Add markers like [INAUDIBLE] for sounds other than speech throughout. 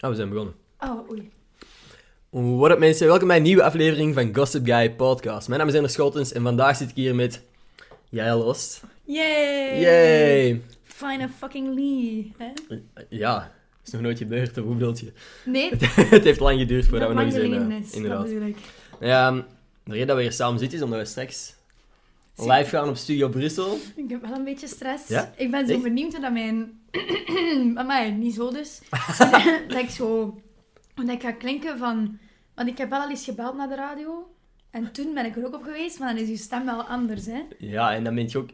Ah, we zijn begonnen. Oh, oei. What up mensen, welkom bij een nieuwe aflevering van Gossip Guy Podcast. Mijn naam is Ender Scholtens en vandaag zit ik hier met Jael Lost. Yay! Yay! Fine fucking Lee. Hè? Ja, is nog nooit gebeurd, of hoe bedoelt je? [LAUGHS] Nee, dat het heeft lang geduurd voordat we nog lang eens een... geleden eh, is, dat inderdaad. bedoel ik. Ja, ehm, de reden dat we hier samen zitten is omdat we straks Zie- live gaan op Studio Brussel. Ik heb wel een beetje stress. Ja? Ik ben zo Echt? benieuwd hoe dat mijn... [CLEARS THROAT] Amai, niet [LAUGHS] zo dus. [LAUGHS] dat ik zo... Dat ik ga klinken van... Want ik heb wel al eens gebeld naar de radio. En toen ben ik er ook op geweest, maar dan is uw stem wel anders, hè. Ja, en dan ben je ook...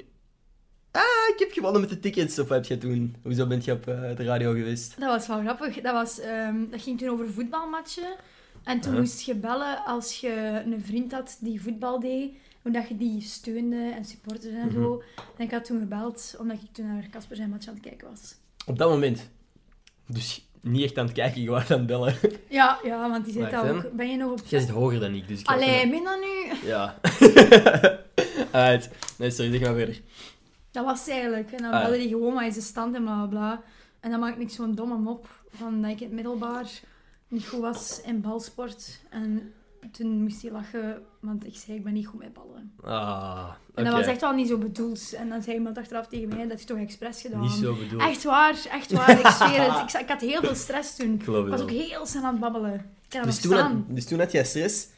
Ah, ik heb gewonnen met de tickets, of wat heb je toen? Hoezo bent je op eh, de radio geweest? Dat was wel grappig. Dat, was, ehm, dat ging toen over voetbalmatchen. En toen Huh? moest je bellen als je een vriend had die voetbal deed. Hoe dat je die steunde en supporterde en zo. Mhm. En ik had toen gebeld, omdat ik toen naar Casper zijn match aan het kijken was. Op dat moment. Dus niet echt aan het kijken, gewoon aan het bellen. Ja, ja want die zei Wacht, dat hè. ook. Ben je nog op... [LAUGHS] Jij zit hoger dan ik, dus ik heb Allee, ben dan nu? [LAUGHS] Ja. Uit. Nee, sorry, zeg maar verder. Dat was het eigenlijk. En dan Ah, ja. belde die gewoon, maar is de stand en bla bla, bla. En dan maakte ik zo'n domme mop van dat ik in het middelbaar niet goed was in balsport. En toen moest hij lachen, want ik zei ik ben niet goed met ballen. Ah, oké. En dat was echt wel niet zo bedoeld. En dan zei iemand achteraf tegen mij, dat is toch expres gedaan? Niet zo bedoeld. Echt waar, echt waar. Ik zweer het. Ik, za- ik had heel veel stress toen. Ik geloof Ik het was wel. ook heel snel aan het babbelen. Ik kan dat Dus nog toen, staan. had, dus toen had jij stress.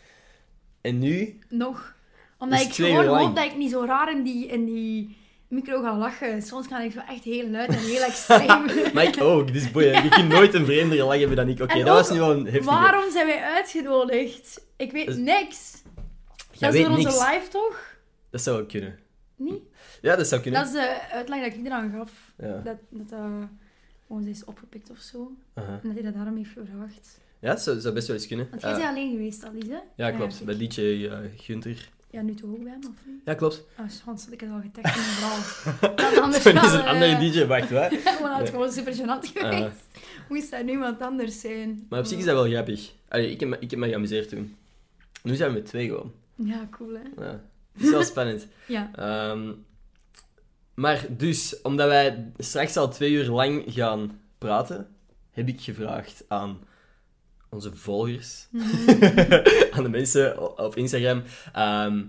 En nu? Nog. Omdat Dus ik twee gewoon uur lang. hoop dat ik niet zo raar in die, in die micro ga lachen. Soms kan ik zo echt heel luid en heel extreem. [LAUGHS] Maar ik ook, dus boeien. Je kunt nooit een vreemdere lach hebben dan ik. Oké, En dat ook, was nu wel een heftige. Waarom zijn wij uitgenodigd? Ik weet Dus- niks. Jij Dat is weet door onze niks. live, toch? Dat zou ook kunnen. Niet? Ja, dat zou kunnen. Dat is de uitleg dat ik eraan gaf. Ja. Dat dat dat gewoon is opgepikt of zo. Aha. En dat hij dat daarom heeft gevraagd. ja, dat zou, zou best wel eens kunnen. Want Eh, jij bent alleen geweest, al hè? ja, klopt. ik- Bij Liedje eh, Gunther. Ja, nu toch ook bij hem, of niet? Ja, klopt. Ah, schans, ik het al [LAUGHS] getagd in mijn verhaal. Dan anders Zo, [LAUGHS] dat is wel, een andere eh, DJ, wacht wat? [LAUGHS] gewoon, had het Ja. Eh. gewoon super gênant geweest. Moest dat nu iemand anders zijn? Maar op zich is dat wel grappig. Allee, ik, heb, me- ik heb me geamuseerd toen. Nu zijn we met twee gewoon. Ja, cool, hè? Ja. Het is wel spannend. Ja. Ehm, maar dus, omdat wij straks al twee uur lang gaan praten, heb ik gevraagd aan onze volgers, Mhm. [LAUGHS] aan de mensen o- op Instagram, ehm,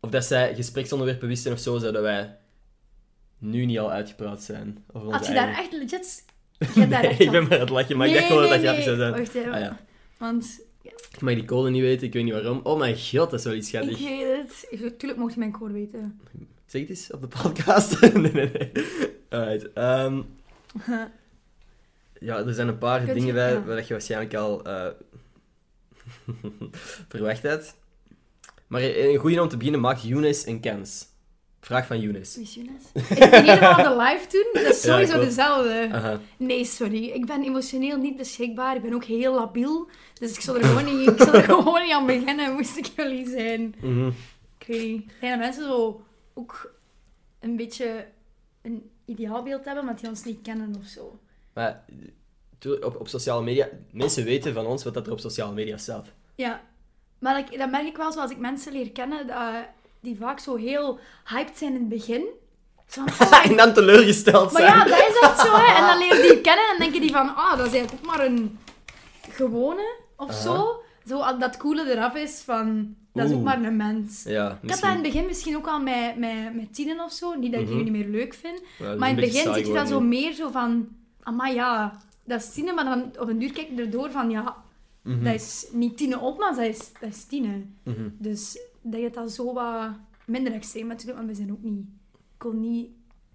of dat zij gespreksonderwerpen wisten of zo, zodat wij nu niet al uitgepraat zijn. Over onze Had je daar eigen- echt legit... Je hebt daar [LAUGHS] Nee, echt ik al- ben maar aan het lachen, maar ik Nee, dacht gewoon nee, dat dat grappig nee. zou zijn. Wacht, hè. Ah, ja. Want Ik mag die code niet weten, ik weet niet waarom. Oh mijn god, dat is wel iets ik schattig. weet het. Ik- Tuurlijk mocht je mijn code [LAUGHS] weten. Zeg het eens op de podcast. [LAUGHS] nee, nee, nee. Alright. ehm, ja, er zijn een paar Kunt je- dingen bij ja. waar je waarschijnlijk al eh, [LAUGHS] verwacht had. Maar een goede om te beginnen, maak Younes een kans. Vraag van Younes. Miss Younes. Ik ben helemaal de live toen. Dat is Ja, sowieso klopt. dezelfde. Aha. Nee, sorry. Ik ben emotioneel niet beschikbaar. Ik ben ook heel labiel. Dus ik zou er gewoon niet, ik zou er [LAUGHS] gewoon niet aan beginnen, moest ik jullie zijn. Mhm. Ik weet niet. Ik denk dat mensen zo ook een beetje een ideaalbeeld hebben, maar die ons niet kennen of zo. Maar tuurlijk, op, op sociale media, mensen weten van ons wat dat er op sociale media staat. [LAUGHS] Ja. Maar ik, dat merk ik wel, zoals ik mensen leer kennen, dat, die vaak zo heel hyped zijn in het begin. Zo [LAUGHS] van, oh, en dan teleurgesteld Maar zijn. ja, dat is echt zo, hè. En dan leer je die kennen en denken die van, ah, dat is eigenlijk ook maar een gewone of Aha. zo. Zo als dat coole eraf is van, dat is ook Oeh. maar een [LAUGHS] mens. Ja, Ik had dat in misschien. het begin misschien ook al met, met, met tienen of zo, niet dat ik Mhm. die nu niet meer leuk vind. Ja, dat is maar in een beetje het begin saai zit je dan zo geworden, meer zo van, maar ja, dat is tienen, maar dan op een duur kijk je erdoor van, ja, hè. Mhm. dat is niet tienen op, maar dat is, dat is tienen. Mhm. Dus dat je dat zo wat minder extreem natuurlijk, want we zijn ook niet, ik kon niet,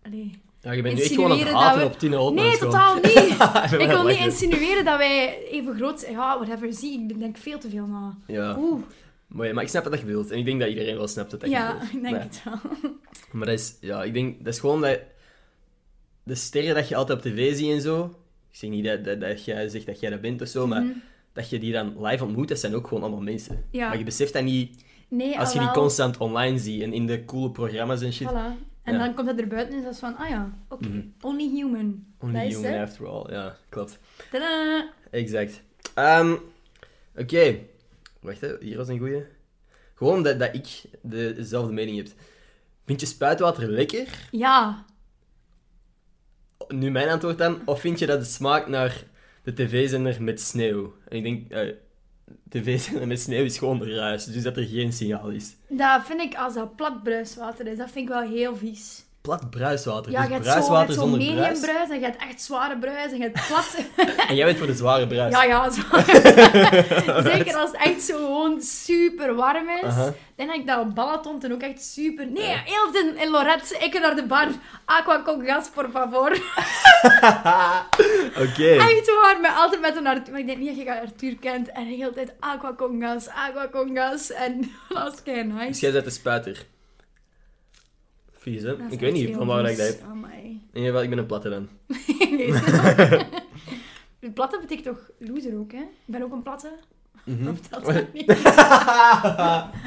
allee. Ja, je bent nu echt gewoon aan het Insinueren dat haten we- op Tina Holtman. Nee, gewoon. [LAUGHS] totaal niet. ben ik aan het wil niet lachen. insinueren dat wij even groot zijn. Ja, whatever, zie, ik denk veel te veel na. Ja, Oeh, mooi, maar ik snap wat dat je bedoelt. En ik denk dat iedereen wel snapt wat dat je ja, bedoelt. ik denk Maar- het [LAUGHS] wel. Maar dat is, ja, ik denk, dat is gewoon dat de sterren dat je altijd op tv ziet en zo. Ik zeg niet dat, dat, dat jij zegt dat jij dat bent of zo, maar Mhm. dat je die dan live ontmoet, dat zijn ook gewoon allemaal mensen. Ja. Maar je beseft dat niet Nee, als je die alhoewel, constant online ziet en in de coole programma's en shit. Voilà. En Ja. dan komt dat er buiten en is dat is van, ah ja, oké, Mhm. only human. Only Dat is human het. Oh, after all, ja, klopt. Tadaa. Exact. Ehm, Oké, wacht hè, hier was een goeie. Gewoon dat, dat ik de- dezelfde mening heb. Vind je spuitwater lekker? Ja, Nu mijn antwoord dan. Of vind je dat het smaakt naar de tv-zender met sneeuw. En ik denk, eh, tv-zender met sneeuw is gewoon ruis, dus dat er geen signaal is. Dat vind ik, als dat plat bruiswater is, dat vind ik wel heel vies. Plat bruiswater. Ja, dus je hebt zo, je hebt bruiswater zo zonder medium bruis. bruis. en je hebt echt zware bruis en je hebt plat. [LAUGHS] En jij bent voor de zware bruis. ja, ja, [LAUGHS] zo. Zeker als het echt zo gewoon super warm is. Aha. Dan denk ik dat op Balaton toen ook echt super... Nee, heel in, in Lorette, ik naar de bar. Aqua con gas, por favor. Oké. Echt waar, maar altijd met een Arthur. Maar ik denk niet dat je Arthur kent. En de hele tijd aqua con gas, aqua con gas. En [LAUGHS] dat is kei Dus nice. jij bent de spuiter. Vies, hè? Dat is Ik weet echt niet heel van waar ik dat vies. heb. Amai. [LAUGHS] In ieder geval, ik ben een platte dan. Nee, zo. [LAUGHS] De Platte betekent toch loser ook, hè? Ik ben ook een platte. Hm. Mhm. Of telt dat [LAUGHS] niet?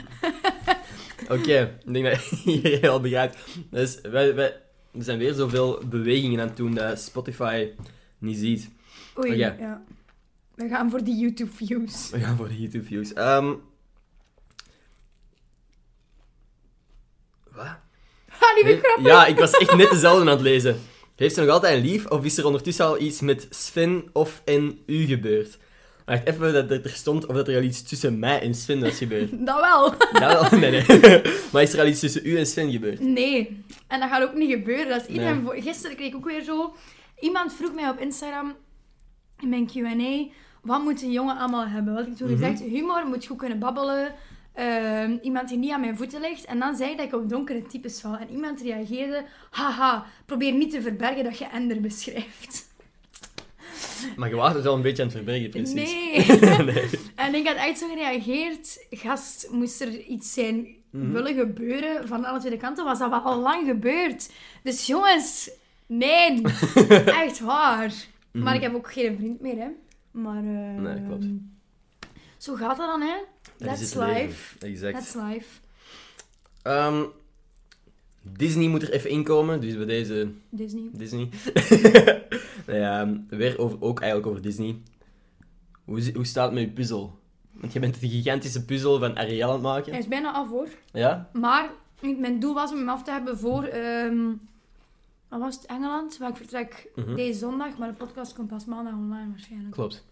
[LAUGHS] Oké, ik denk dat iedereen al begrijpt. Dus wij, wij, er zijn weer zoveel bewegingen aan het doen dat Spotify niet ziet. Oei, Oké. ja. We gaan voor die YouTube-views. We gaan voor de YouTube views. Ehm, wat? [LAUGHS] Ha, Ah, die vind ik Heeft- grappig. Eh, Ja, ik was echt net dezelfde aan het lezen. Heeft ze nog altijd een lief of is er ondertussen al iets met Sven of en u gebeurd? Wacht even dat er er stond of dat er al iets tussen mij en Sven was gebeurd. [LAUGHS] Dat wel. Dat wel, nee, nee. [LAUGHS] Maar is er al iets tussen u en Sven gebeurd? Nee. En dat gaat ook niet gebeuren. Dat is iedereen Nee. voor- Gisteren kreeg ik ook weer zo... Iemand vroeg mij op Instagram, in mijn Q&A, wat moet een jongen allemaal hebben? Wat ik toen gezegd, Mhm. humor, moet goed kunnen babbelen, ehm, iemand die niet aan mijn voeten ligt. En dan zei ik dat ik op donkere types val. En iemand reageerde, haha, probeer niet te verbergen dat je Ender beschrijft. Maar je was het wel een beetje aan het verbergen, precies. Nee. [LAUGHS] nee. En ik had echt zo gereageerd. Gast, moest er iets zijn Mhm. willen gebeuren van alle twee kanten, was dat wel al lang gebeurd. Dus jongens, [LAUGHS] nee. echt waar. Maar ik heb ook geen vriend meer, hè. Maar... eh, Mhm. Nee, klopt. Zo gaat dat dan, hè. Dat is That's het leven. life. Exact. That's life. Ehm, Disney moet er even inkomen, dus bij deze Disney. Disney. [LAUGHS] nou ja, ehm, weer over, ook eigenlijk over Disney. Hoe, zi- hoe staat het met je puzzel? Want je bent de gigantische puzzel van Ariel aan het maken. Hij is bijna af, hoor. Ja? Maar ik- mijn doel was om hem af te hebben voor... ehm, wat was het? Engeland? Maar ik vertrek Mhm. deze zondag, maar de podcast komt pas maandag online waarschijnlijk. Klopt.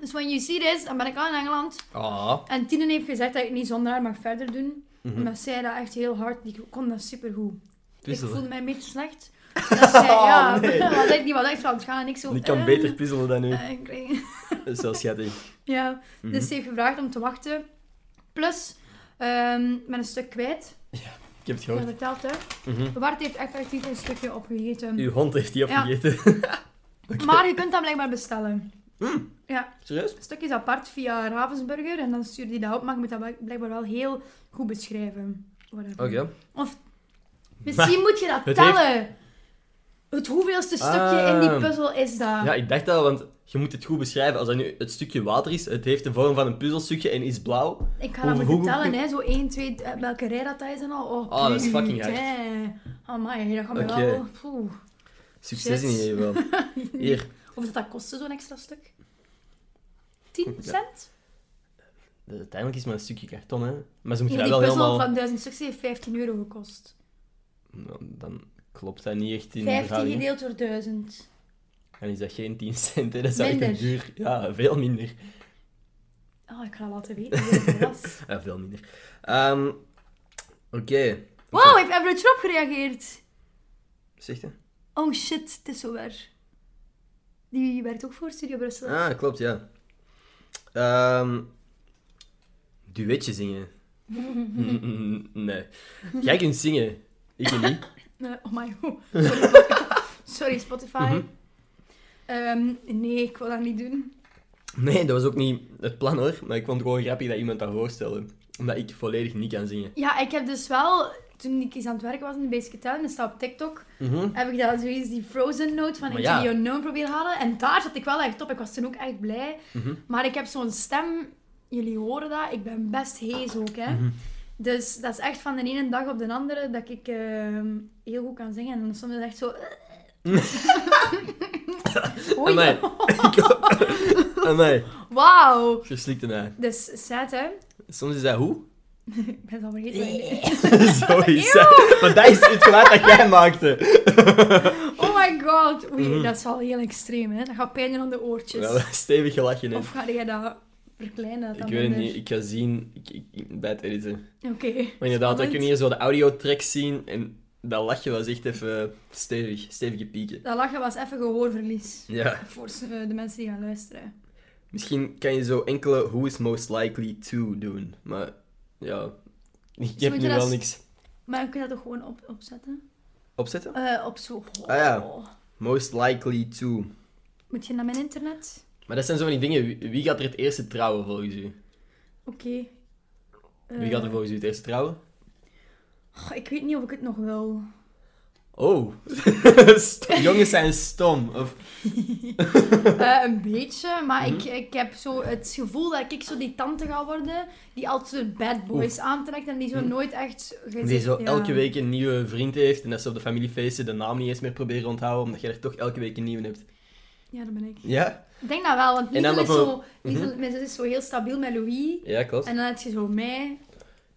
Dus when you see this, dan ben ik al in Engeland. Ah. En Tine heeft gezegd dat ik niet zonder haar mag verder doen. Mhm. Omdat zij dat echt heel hard... Die kon dat supergoed. Ik Puzzelen. voelde mij een beetje [LAUGHS] slecht. Dat zij, ja, [LAUGHS] Oh, nee. was echt niet wat echt van het gaan. En ik zo... Die kan eh, [LAUGHS] beter puzzelen dan u. eh, ik kreeg- Dat is wel schattig. ja, Mhm. dus ze heeft gevraagd om te wachten. Plus, ehm met een stuk kwijt. Ik heb het Ik heb gehoord. verteld, hè. Mhm. Bart heeft echt actief een stukje opgegeten. Uw hond heeft die Ja. opgegeten. [LAUGHS] Maar je kunt dat blijkbaar bestellen. Serieus? Het stukje is apart via Ravensburger. En dan stuurt hij dat op. Maar je moet dat wel- blijkbaar wel heel goed beschrijven. Whatever. Oké. Of misschien moet je dat het tellen. Het hoeveelste stukje in die Ah. puzzel is dat? Ja, ik dacht al, want je moet het goed beschrijven. Als dat nu het stukje water is, het heeft de vorm van een puzzelstukje en is blauw. ik ga dat hoe- moeten hoe- tellen, hè. Zo 1, 2, welke rij dat dat is en al. Oh, Ah, dat is fucking hard. hard. Amai, dat gaat me Oké. wel... Poeh. Succes in Shit. ieder geval. [LAUGHS] Hier, Of dat dat kostte, zo'n extra stuk? 10 Ja. cent? uiteindelijk is het maar een stukje karton, hè. Maar ze moeten Ja, dat die wel puzzel helemaal... van 1000 stuks heeft 15 euro gekost. Nou, dan klopt dat niet echt in 15 verhouding. gedeeld door 1000. Dan is dat geen 10 cent, hè. Dat is echt Minder. een duur... Ja, veel minder. Oh, ik ga laten [LAUGHS] weten hoeveel dat was. Ja, veel minder. Ehm, Oké. Wow, heeft Everett erop gereageerd? Zegt hè? Oh shit, het is zover. Die werkt ook voor Studio Brussel. Ah, klopt, ja. Ehm duetje zingen. [LAUGHS] Mm, mm, nee. Jij kunt zingen. Ik niet. Eh, oh my [LAUGHS] god. Sorry, Sorry, Spotify. Mhm. Ehm, nee, ik wil dat niet doen. Nee, dat was ook niet het plan hoor. Maar ik vond het gewoon grappig dat iemand dat voorstelde. Omdat ik volledig niet kan zingen. Ja, ik heb dus wel, toen ik eens aan het werken was in de Basic Talent, en sta op TikTok, Mhm. heb ik daar zoiets die Frozen note van Maar Into ja. the Unknown proberen halen. En daar zat ik wel echt op. Ik was toen ook echt blij. Mhm. Maar ik heb zo'n stem, jullie horen dat, ik ben best hees ook, hè. Mhm. Dus dat is echt van de ene dag op de andere dat ik ehm, heel goed kan zingen. En dan soms is het echt [LAUGHS] zo... [LAUGHS] Oei. [LAUGHS] Amai. Amai, Wauw. je slikte mij. Dus sad, hè? [LAUGHS] Soms is dat hoe? ik ben het al vergeten. wat ik- Zo is dat. Maar dat is het geluid dat jij maakte. [LAUGHS] Oh my god. Oei, dat is wel heel extreem, hè. Dat gaat pijn doen aan de oortjes. Mhm. Wel, stevig gelachje, hè. Of ga jij dat verkleinen? dat Ik dan weet het minder? niet, ik ga zien ik, ik- ik- bij het editen. Oké. Maar inderdaad, dan Spannend. kun je hier zo de audiotracks zien en dat lachje was echt even stevig, stevige pieken. Dat lachen was even gehoorverlies. Ja. Voor eh, de mensen die gaan luisteren. Misschien kan je zo enkele who is most likely to doen, maar ja, ik heb moet nu je dat wel s- niks Maar dan kun je dat toch gewoon op, opzetten? opzetten. Eh, op zo. Ah, ja. Most likely to. Moet je naar mijn internet? Maar dat zijn zo van die dingen, wie- wie gaat er het eerste trouwen volgens u? Oké. Eh, Wie gaat er volgens u het eerste trouwen? Goh, ik weet niet of ik het nog wil. Oh, [LAUGHS] St- jongens zijn stom. Of, Eh, een beetje, maar ik, Mhm. ik heb zo het gevoel dat ik zo die tante ga worden die altijd bad boys aantrekt en die zo nooit echt... ge- Mhm. die zo ja. elke week een nieuwe vriend heeft en dat ze op de familiefeesten de naam niet eens meer proberen te onthouden, omdat je er toch elke week een nieuwe hebt. Ja, dat ben ik. Ja? Ik denk dat wel, want En dan Liesel is, zo, bijvoorbeeld- Mhm. Liesel, mijn zus is zo heel stabiel met Louis. Ja, klopt. En dan heb je zo mij.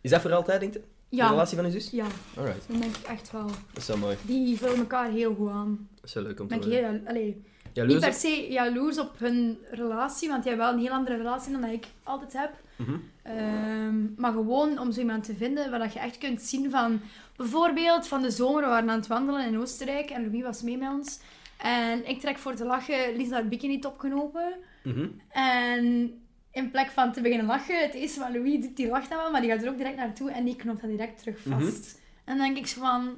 Is dat voor altijd, denk je? De Ja, relatie van je zus? ja, Alright. dat denk ik echt wel. Dat is wel mooi. Die vullen elkaar heel goed aan. Dat is wel leuk om te Ben ik horen. heel, jal- allee, niet Jaloers per op- se jaloers op hun relatie, want jij hebt wel een heel andere relatie dan dat ik altijd heb. Mhm. Ehm, maar gewoon om zo iemand te vinden waar dat je echt kunt zien van... Bijvoorbeeld van de zomer, we waren aan het wandelen in Oostenrijk en Louis was mee met ons. En ik trek voor te lachen Lies haar bikini top knopen. Mhm. En in plek van te beginnen lachen, het eerste van Louis, doet- die lacht dan wel, maar die gaat er ook direct naartoe en die knopt dat direct terug Mhm. vast. En dan denk ik zo van...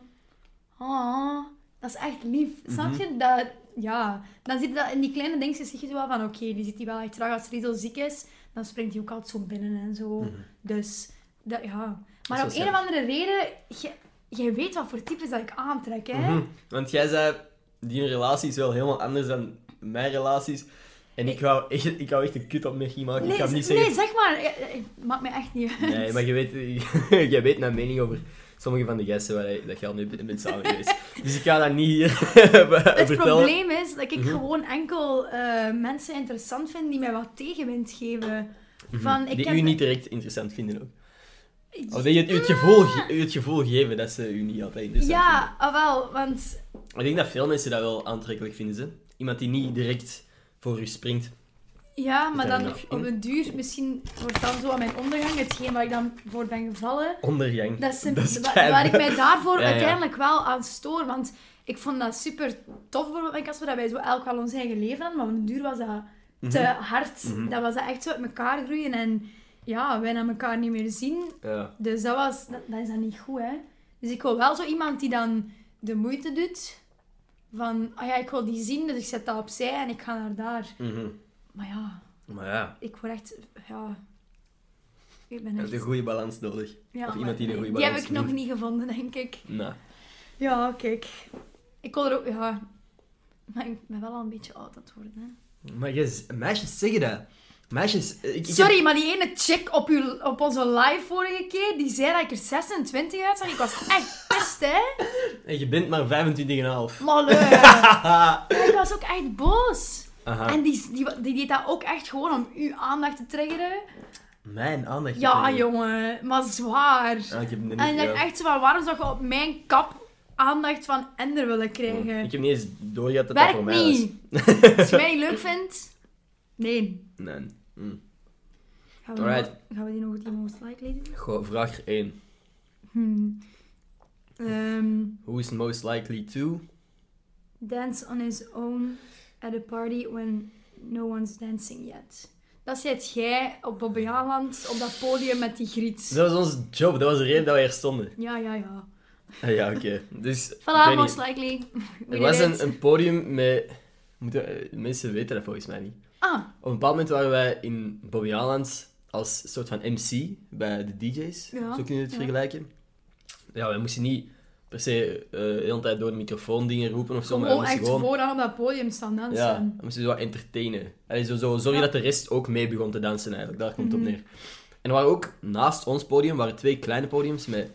Oh, dat is echt lief. Mhm. Snap je? Dat, ja. Dan zit dat in die kleine dingetjes, zie je zo wel van... Oké, die zit die wel echt traag als Riesel ziek is. Dan springt hij ook altijd zo binnen en zo. Dus, dat, ja. Mhm. Maar wel om een slim. of andere reden... je- Jij weet wat voor types dat ik aantrek, hè? Mhm. Want jij zei, die relatie is wel helemaal anders dan mijn relaties. En ik wou echt, ik wou echt een kutopmerking maken. ik Nee, kan niet z- zeggen... nee, zeg maar. eh, eh, Maakt mij echt niet uit. Nee, maar je weet, [LAUGHS] jij weet mijn mening over sommige van de gasten waar je, dat je al mee bent samen geweest. Dus ik ga dat niet hier [LAUGHS] eh, Het vertellen. probleem is dat ik Mhm. gewoon enkel eh, mensen interessant vind die mij wat tegenwind geven. Van, ik Mhm. die heb... u niet direct interessant vinden ook. Of dat je het, u het, gevoel, ge- u het gevoel geven dat ze u niet altijd interessant vinden. Ja, ah, wel, want Ik denk dat veel mensen dat wel aantrekkelijk vinden. Ze. Iemand die niet direct voor u springt. ja, maar daar dan nog op in? een duur, misschien wordt dan zo aan mijn ondergang hetgeen waar ik dan voor ben gevallen. Ondergang. Dat is, een- wa- fijn. waar, ik mij daarvoor [LAUGHS] Ja, ja. uiteindelijk wel aan stoor. Want ik vond dat super tof voor mijn Casper, dat wij zo elk wel ons eigen leven hadden. Maar op een duur was dat te Mhm. hard. Dat was dat echt zo uit elkaar groeien. En ja, wij naar elkaar niet meer zien. Ja. Dus dat, was, dat, dat is dan niet goed, hè. Dus ik wil wel zo iemand die dan de moeite doet. Van, ah ja, ik wil die zien, dus ik zet dat opzij en ik ga naar daar. Mhm. Maar ja, Maar ja, ik word echt... Ja... Ik ben je echt... hebt een goede balans nodig. ja, of maar iemand die een goede Die heb balans ik nog vindt. niet gevonden, denk ik. Nou, Ja, kijk. Ik wil er ook... Ja... Maar ik ben wel al een beetje oud aan het worden, hè. maar je, meisjes zeggen dat. Meisjes, eh, ik, ik heb- Sorry, maar die ene chick op, uw, op onze live vorige keer, die zei dat ik er 26 uitzag. Ik was echt pest, [LAUGHS] hè. En je bent maar [LAUGHS] 25,5. Malle. Haha. Ja, ik was ook echt boos. Aha. En die, die, die deed dat ook echt gewoon om uw aandacht te triggeren. Mijn aandacht. Ja, joh. jongen, maar zwaar. ik heb net en ik niet, denk ja. echt zo van, waarom zou je op mijn kap aandacht van Ender willen krijgen? Ik heb niet eens doorgehad dat dat Werkt voor mij was. niet. Als je mij niet leuk vindt, nee. Nee. Mm. Gaan we, Alright. nog, gaan we die nog het most likely doen? Goh, vraag 1. Hmm. Ehm, Who is most likely to? dance on his own at a party when no one's dancing yet. Dat zit jij op Bobbejaanland op dat podium met die griet. Dat was onze job, dat was de reden dat we hier stonden. Ja, ja, ja. Ah, [LAUGHS] ja, oké. Dus. ik Voilà, weet most niet. likely. Er [LAUGHS] Wie was weet. een, een podium met. Moeten, eh, mensen weten dat volgens mij niet. Ah, Op een bepaald moment waren wij in Bobby Aland als soort van MC bij de DJ's. Ja, Zo kun je het ja. vergelijken. Ja, wij moesten niet per se eh, de hele tijd door de microfoon dingen roepen of zo, maar we gewoon moesten oh, echt gewoon. vooraan op dat podium staan Ja, dansen. we moesten zo wat entertainen. Allee, zo, zo zorgen Ja. Mhm. dat de rest ook mee begon te dansen eigenlijk, daar komt het op neer. En er waren ook naast ons podium waren twee kleine podiums met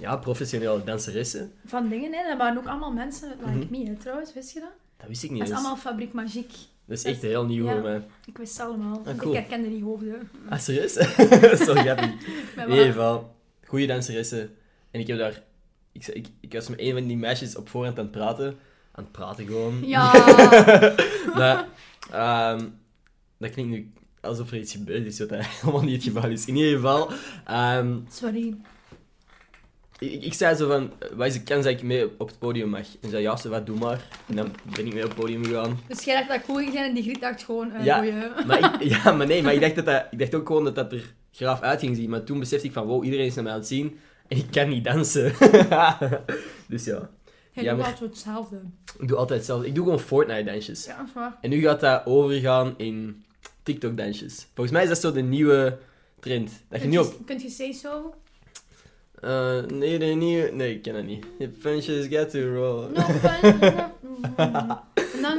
ja, professionele danseressen. Mhm. Van dingen, hè. Dat waren ook allemaal mensen like me, hè, trouwens. Wist je dat? Dat wist ik niet Dat is eens. allemaal Fabriek Magiek. Dat is echt heel nieuw Ja. voor [LAUGHS] mij. Ik wist het allemaal. want Ah, cool. Ik herkende die hoofden. Ah, serieus? [LAUGHS] Zo [LAUGHS] grappig. Maar In ieder geval, goede danseressen. En ik heb daar... Ik, zei- ik, ik was met een van die meisjes op voorhand aan het praten. Aan het praten gewoon. [LAUGHS] Ja. Maar, ehm, dat klinkt nu alsof er iets gebeurd is, wat dat [LAUGHS] helemaal niet het geval is. In ieder geval, ehm, Sorry. ik, ik zei zo van, eh, wat is de kans dat ik mee op het podium mag? En ze zei, ja, ze wat, doe maar. En dan ben ik mee op het podium gegaan. Dus jij dacht dat ik cool ging zijn en die Griet dacht gewoon... eh Ja. goeie. [LAUGHS] Maar ik, [LAUGHS] ja, maar nee, maar ik dacht, dat dat, ik dacht ook gewoon dat dat er graaf uit ging zien. Maar toen besefte ik van, wow, iedereen is naar mij aan het zien. En ik kan niet dansen. [LAUGHS] dus ja, Jij Ja, doet maar- altijd hetzelfde. ik doe altijd zelf. Ik doe gewoon Fortnite-dansjes. Ja, dat is waar. En nu gaat dat overgaan in TikTok-dansjes. Volgens mij is dat zo de nieuwe trend. Dat je nu op Kunt je say [LAUGHS] so? Eh, nee, nee, nee, nee, ik ken dat niet. Je punches get to roll. No fun. [LAUGHS] en dan...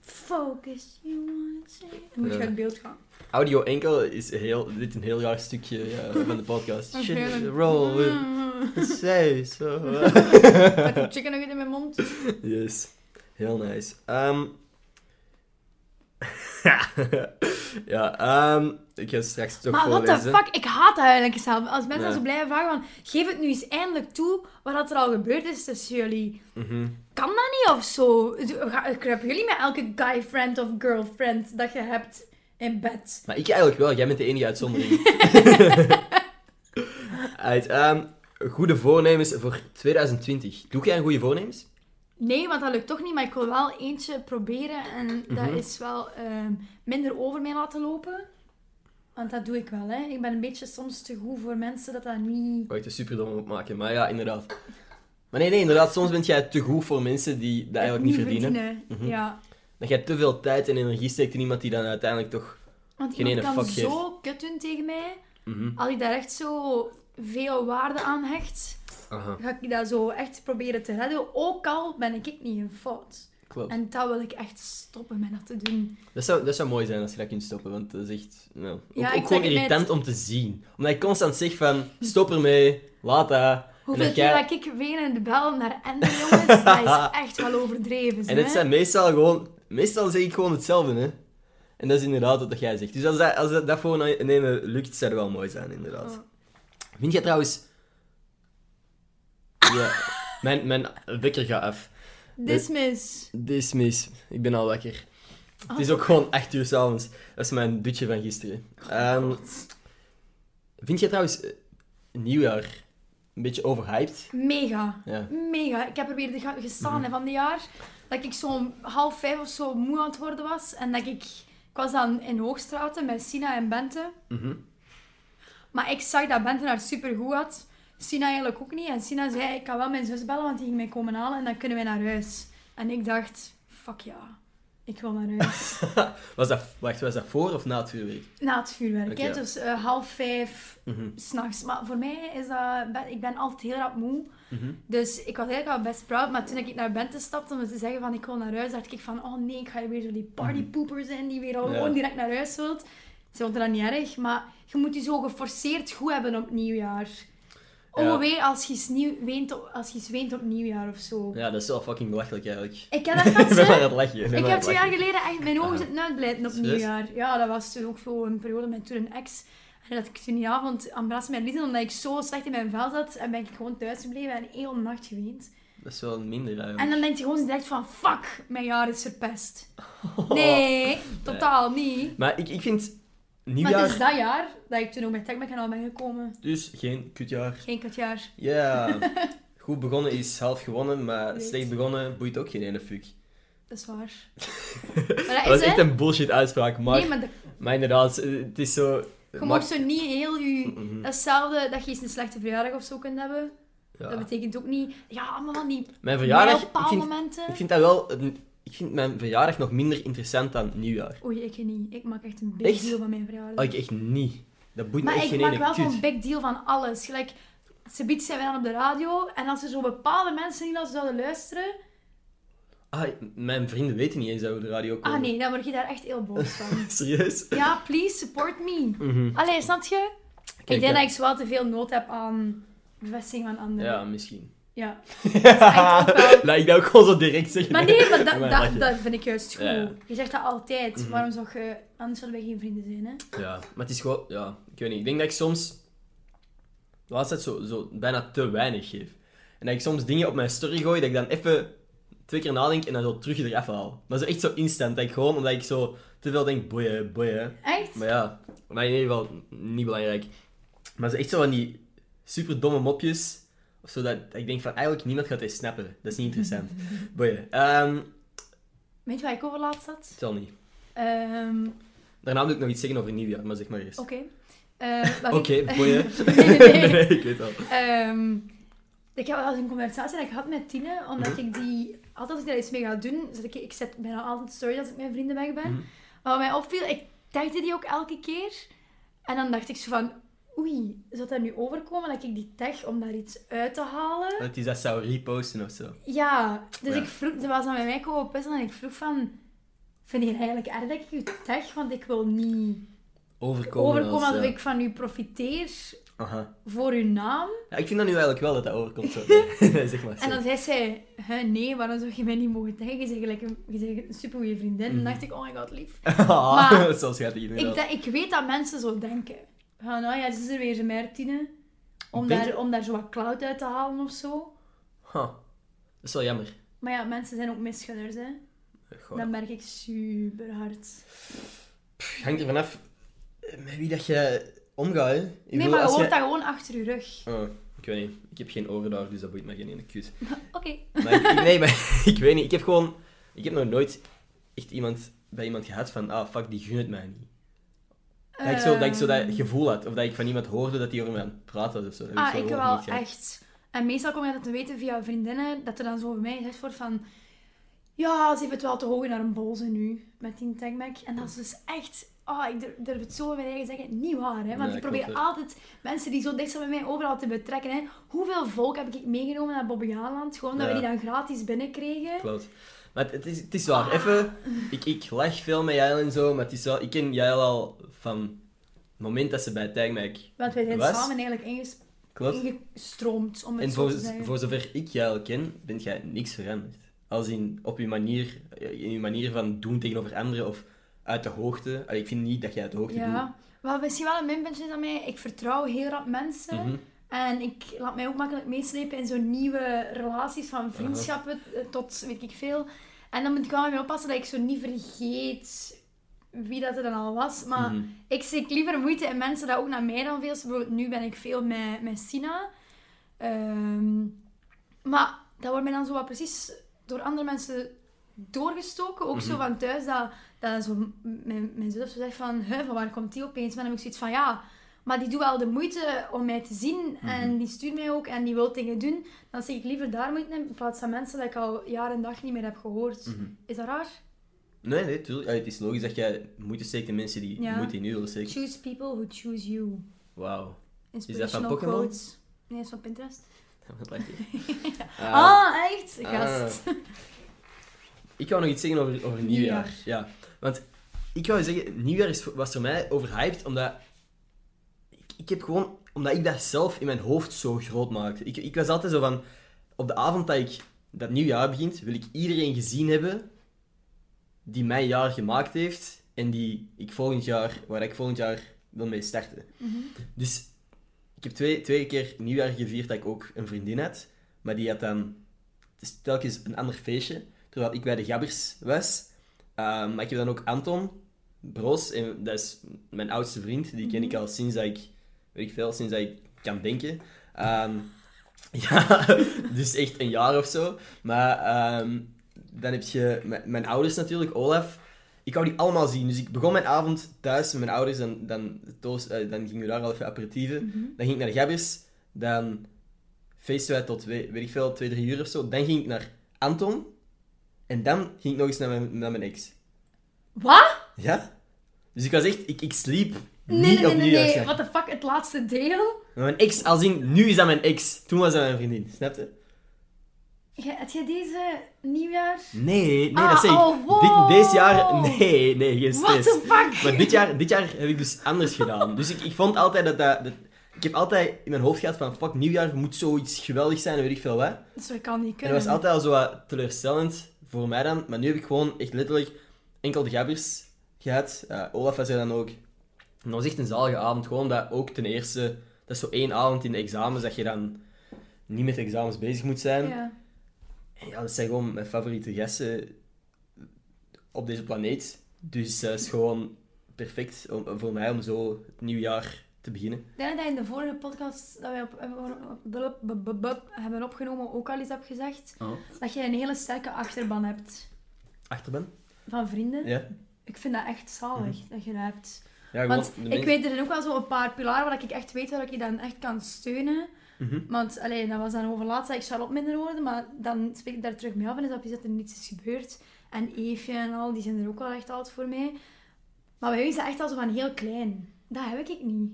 Focus, you wanna say... Dan moet je Ja. uit beeld gaan. Audio enkel is heel, dit is een heel raar stukje ja, van de podcast. Oké, Shit, dan- roll [LAUGHS] with [LAUGHS] say so. Met [LAUGHS] die chicken nugget in mijn mond. yes, heel nice. Ehm, [LAUGHS] ja, ehm, ik ga straks toch Maar what the voorlezen. fuck, ik haat dat eigenlijk zelf. Als mensen Ja. zo blijven vragen van, geef het nu eens eindelijk toe wat dat er al gebeurd is tussen jullie. Mhm. Kan dat niet of zo? Kruipen jullie met elke guy friend of girlfriend dat je hebt in bed? Maar ik eigenlijk wel, jij bent de enige [LAUGHS] uitzondering. Uit, ehm, goede voornemens voor 2020. Doe jij een goede voornemens? Nee, want dat lukt toch niet, maar ik wil wel eentje proberen en dat Mhm. is wel ehm, minder over mij laten lopen. Want dat doe ik wel, hè. Ik ben een beetje soms te goed voor mensen dat dat niet... Waar ik er super dom op maken, maar ja, inderdaad. Maar nee, nee, inderdaad, soms ben jij te goed voor mensen die dat eigenlijk niet verdienen. Mhm. Ja. Dat jij te veel tijd en energie steekt in iemand die dan uiteindelijk toch... Want Geen iemand ene kan fuck zo kut doen tegen mij. Mhm. Als ik daar echt zo veel waarde aan hecht, Aha, ga ik dat zo echt proberen te redden. Ook al ben ik niet in fout. klopt. En dat wil ik echt stoppen met dat te doen. Dat zou, dat zou mooi zijn als je dat kunt stoppen, want dat is echt... nou, ook- Ja, ook, ik gewoon zeg het irritant om te zien. Omdat ik constant zeg van, stop ermee, laat dat. Hoeveel dat keer jij- dat ik ween in de bel naar Ende, jongens, dat [LAUGHS] is echt wel overdreven. En hè? het zijn meestal gewoon... Meestal zeg ik gewoon hetzelfde, hè. En dat is inderdaad wat dat jij zegt. Dus als dat, als dat, dat voor een ene lukt, zou dat wel mooi zijn, inderdaad. Oh. Vind jij trouwens... Ja, mijn, mijn wekker gaat af. Dismiss. Dismiss. Ik ben al wakker. Het Ah. is ook gewoon 8 uur s'avonds. Dat is mijn dutje van gisteren. Oh Ehm, vind jij trouwens eh, nieuwjaar een beetje overhyped? Mega. Ja. Mega. Ik heb er weer de ga- gestaan hè, van dit jaar. Dat ik zo'n half vijf of zo moe aan het worden was. En dat ik... Ik was dan in Hoogstraten met Sina en Bente. Mhm. Maar ik zag dat Bente haar supergoed had. Sina eigenlijk ook niet. En Sina zei, ik kan wel mijn zus bellen, want die ging mij komen halen. En dan kunnen wij naar huis. En ik dacht, fuck ja. Ik wil naar huis. Was dat, wacht, was dat voor of na het vuurwerk? Na het vuurwerk, hè. Oké. Dus eh, half vijf Mhm. s'nachts. Maar voor mij is dat... ben- Ik ben altijd heel rap moe. Mhm. Dus ik was eigenlijk al best proud. Maar toen ik naar Bente stapte om te zeggen van, ik wil naar huis, dacht ik van, oh nee, ik ga hier weer zo die partypoepers in, die weer al Mhm. Ja. gewoon direct naar huis wilt. Ze vond dat niet erg, maar je moet je zo geforceerd goed hebben op nieuwjaar. Ja. Oh wee, als je eens nieuw- weent op, als je eens weent op nieuwjaar of zo. Ja, dat is wel fucking belachelijk eigenlijk. Ik heb [LAUGHS] dat gehad, ik ben maar aan hè. het lachen. ben Ik maar aan heb het twee jaar lachen. geleden echt mijn ogen Aha. zitten uitblijten op Serieus? nieuwjaar. Ja, dat was toen ook zo een periode met toen een ex. En dat ik toen die avond aanbras met lieten, omdat ik zo slecht in mijn vel zat. En ben ik gewoon thuis gebleven en heel de nacht geweend. Dat is wel minder eigenlijk. [LAUGHS] En dan denk je gewoon direct van, fuck, mijn jaar is verpest. Oh. Nee, totaal niet. Maar ik, ik vind Maar het nieuwjaar is dat jaar dat ik toen ook met TechMechanaal ben gekomen. dus geen kutjaar. Geen kutjaar. Ja. [LAUGHS] Goed begonnen is half gewonnen, maar Weet. slecht begonnen boeit ook geen ene fuck. Dat [LAUGHS] is waar. Maar Dat dat is is, echt hè? een bullshit uitspraak, maar, Nee, maar dat- maar inderdaad, het is zo... je maar- mag zo niet heel je... Mhm. Dat is hetzelfde dat je eens een slechte verjaardag of zo kunt hebben. Ja. Dat betekent ook niet... Ja, allemaal van die Mijn verjaardag, ik vind, mijlpaalmomenten. ik vind dat wel... een- ik vind mijn verjaardag nog minder interessant dan nieuwjaar. Oei, ik niet. Ik maak echt een big Echt? deal van mijn verjaardag. Oh, ik echt niet. Dat boeit me Maar echt ik geen maak ene wel kut. zo'n big deal van alles. Gelijk, ze biedt zijn wij dan op de radio. En als er zo bepaalde mensen niet naar zouden luisteren... Ah, mijn vrienden weten niet eens dat we op de radio komen. Ah nee, dan word je daar echt heel boos van. [LAUGHS] [LAUGHS] Serieus? ja, please, support me. Mhm. Allee, snap je? Kijk, ik denk ja. dat ik zo wel te veel nood heb aan bevestiging van anderen. [LAUGHS] Ja, misschien. Ja. echt ook [LAUGHS] wel- Laat ik dat ook gewoon zo direct zeggen. Maar nee, maar [LAUGHS] Ja, dat, maar dat, lachen. dat vind ik juist goed. Ja, ja. Je zegt dat altijd. Mhm. Waarom zou je... Anders zouden wij geen vrienden zijn, hè? Ja, maar het is gewoon... Ja, ik weet niet. Ik denk dat ik soms... De laatste tijd zo, zo bijna te weinig geef. En dat ik soms dingen op mijn story gooi, dat ik dan even twee keer nadenk en dan zo terug eraf haal. Maar zo echt zo instant. Dat ik gewoon, omdat ik zo te veel denk, boeien, boeien. Echt? Maar ja, maar in ieder geval niet belangrijk. Maar ze echt zo van die super domme mopjes. Of zo dat, dat ik denk van eigenlijk niemand gaat dit snappen. Dat is niet interessant. Boeien. Ehm, Weet je waar ik over laatst zat? het zal niet. Ehm, Daarna wil ik nog iets zeggen over nieuwjaar, maar zeg maar eerst. Oké. [LAUGHS] Eh, wat Oké, ik- boeien. nee, nee, nee. ik weet al. [LAUGHS] Ehm, ik heb wel eens een conversatie dat ik had met Tine, omdat Mhm. ik die... Altijd als ik daar iets mee ga doen, zet ik, ik zet bijna altijd story als ik met vrienden weg ben. Mhm. Maar wat mij opviel, ik tagde die ook elke keer. En dan dacht ik zo van, oei, zou dat nu overkomen dat ik die tag om daar iets uit te halen? Dat hij dat zou reposten of zo. Ja, dus Ja. ik vroeg, ze was aan mij komen pissen en ik vroeg van, vind je het eigenlijk erg dat ik u tag? Want ik wil niet Overkomen. overkomen als, alsof ja. ik van u profiteer Aha. voor uw naam. Ja, ik vind dat nu eigenlijk wel dat dat overkomt [LAUGHS] zo. zeg maar. En zo. dan zei zij, "Hè, nee, waarom zou je mij niet mogen taggen? Je bent gelijk een, je bent een supergoeie vriendin. Mhm. En dan dacht ik, oh my god, lief. [LAUGHS] Ah, [LAUGHS] Maar- zo schat ik Ik, inderdaad. denk- ik weet dat mensen zo denken. Van, nou ja, ze is er weer zijn mertine. Om Denk daar, om daar zo wat cloud uit te halen of zo. Huh. Dat is wel jammer. Maar ja, mensen zijn ook misgunners, hè. Goh. Dat merk ik super hard. Het hangt er vanaf eh, met wie dat je omgaat. hè. Ik Nee, bedoel, maar je als hoort jij- dat gewoon achter je rug. Oh, ik weet niet. Ik heb geen oren daar, dus dat boeit me geen ene kus. Oké. Maar ik, ik- nee, maar [LAUGHS] ik weet niet. Ik heb gewoon... Ik heb nog nooit echt iemand, bij iemand gehad van... Ah, fuck, die gun het mij niet. Dat, ik zo, dat ik zo Ehm. dat gevoel had. Of dat ik van iemand hoorde dat die over mij aan het praten was of zo. Dat heb Ah, zo ik gewoon wel, niet gehad. echt. En meestal kom je dat te weten via vriendinnen, dat er dan zo bij mij gezegd wordt van... Ja, ze heeft het wel te hoog naar een bolze nu, met die tagmac. En dat is dus echt... Ah, ik durf, durf het zo in mijn eigen zeggen, niet waar, hè. Want Nee, klopt, ik probeer hè. altijd mensen die zo dicht zijn bij mij overal te betrekken, hè. Hoeveel volk heb ik meegenomen naar Bobbejaanland, gewoon dat Ja. we die dan gratis binnenkregen. Klopt. Maar het, het is, het is waar. Even... Ik, ik lach veel met Jael en zo, maar het is wel... Ik ken Jael al van het moment dat ze bij Tijgmijk... Want wij zijn Was? samen eigenlijk inges- Klopt? ingestroomd, om het En zo voor, te zeggen. voor zover ik jou ken, bent jij niks veranderd. Als in op je manier, in je manier van doen tegenover anderen of uit de hoogte. Allee, ik vind niet dat jij uit de hoogte Ja. Wat misschien wel een minpuntje is aan mij, ik vertrouw heel rap mensen. doet. Mhm. En ik laat mij ook makkelijk meeslepen in zo'n nieuwe relaties van vriendschappen eh, tot weet ik veel. En dan moet ik wel mee oppassen dat ik zo niet vergeet wie dat er dan al was. Maar Mhm. ik steek liever moeite in mensen dat ook naar mij dan veel. Bijvoorbeeld nu ben ik veel met, met Sina. Ehm, maar dat wordt mij dan zo wat precies door andere mensen doorgestoken. Ook zo Mhm. van thuis, dat, dat zo m- mijn, mijn zus of zo zegt van, "Huh, van waar komt die opeens? Maar dan heb ik zoiets van, ja, maar die doet wel de moeite om mij te zien. Mhm. En die stuurt mij ook en die wil dingen doen. Dan zeg ik liever daar moeite in, in plaats van mensen dat ik al jaar en dag niet meer heb gehoord. Mhm. Is dat raar? Nee, nee, tuurlijk. Allee, het is logisch dat jij moeite steekt in mensen die Ja. moeite in u willen steken. Choose people who choose you. Wauw. [LAUGHS] Inspirational Pokémon? quotes. Nee, is van Pinterest. Wat lach je? [LAUGHS] Ah, ah, echt? Gast. Ah. Ik wou nog iets zeggen over, over nieuwjaar. Nieuwjaar. Ja, want ik wou zeggen, nieuwjaar is, voor- was voor mij overhyped, omdat ik, ik heb gewoon, omdat ik dat zelf in mijn hoofd zo groot maakte. Ik, ik was altijd zo van, op de avond dat ik dat nieuwjaar begint, wil ik iedereen gezien hebben die mijn jaar gemaakt heeft en die ik volgend jaar, waar ik volgend jaar wil mee starten. Dus ik heb twee, twee keer nieuwjaar gevierd dat ik ook een vriendin had. Maar die had dan het is telkens een ander feestje. Terwijl ik bij de Gabbers was. Ehm, maar ik heb dan ook Anton Broos. En dat is mijn oudste vriend. Die ken ik al sinds dat ik... Weet ik veel, sinds dat ik kan denken. Ehm, [LAUGHS] ja, dus echt een jaar of zo. Maar ehm, dan heb je mijn- mijn ouders natuurlijk, Olaf. Ik wou die allemaal zien. Dus ik begon mijn avond thuis met mijn ouders. Dan, dan, toos- eh, dan gingen we daar al even aperitieven. Dan ging ik naar de Gabbers. Dan feesten wij tot, we- weet ik veel, twee, drie uur of zo. Dan ging ik naar Anton. En dan ging ik nog eens naar mijn, naar mijn ex. [LAUGHS] Wat? Ja? Dus ik was echt... Ik, ik sliep Nee, niet nee, nee, op nee, nee. nieuwjaarsnacht. What the fuck, het laatste deel? Maar mijn ex, als in, nu is dat mijn ex. Toen was dat mijn vriendin. Snap je? Jij- Had jij deze nieuwjaar? Nee, nee, Ah, dat zeg ik. oh, wow. Dit- deze jaar... Nee, nee, geen What stress. [LAUGHS] the fuck? Maar dit jaar, dit jaar heb ik dus anders gedaan. Dus ik, ik vond altijd dat, dat, dat Ik heb altijd in mijn hoofd gehad van, fuck, nieuwjaar moet zoiets geweldig zijn en weet ik veel wat. Dus dat kan niet En kunnen. dat was altijd al zo wat teleurstellend voor mij dan. Maar nu heb ik gewoon echt letterlijk enkel de gabbers gehad. Eh, Olaf was er dan ook. En dat was echt een zalige avond. Gewoon dat ook ten eerste... Dat is zo één avond in de examens dat je dan niet met de examens bezig moet zijn. Ja. En ja, dat zijn gewoon mijn favoriete gasten op deze planeet. Dus dat is gewoon perfect om, voor mij om zo het nieuwjaar te beginnen. Ik denk dat in de vorige podcast dat wij op, op- op- op- op- op- hebben opgenomen ook al eens heb gezegd dat je een hele sterke achterban hebt Achterban? van vrienden. Ja. Mhm. Ik vind dat echt zalig dat je dat hebt. Ja, gewoon Want de ik mensen- weet er zijn ook wel zo een paar pilaren waar ik echt weet waar ik je dan echt kan steunen. Mhm. Want alleen dat was dan over laatst dat ik Charlotte minder hoorde, maar dan spreek ik daar terug mee af en is dat precies dat er niets is gebeurd. En Eefje en al, die zijn er ook wel echt altijd voor mij. Maar bij hun is dat echt al zo van heel klein. Dat heb ik niet.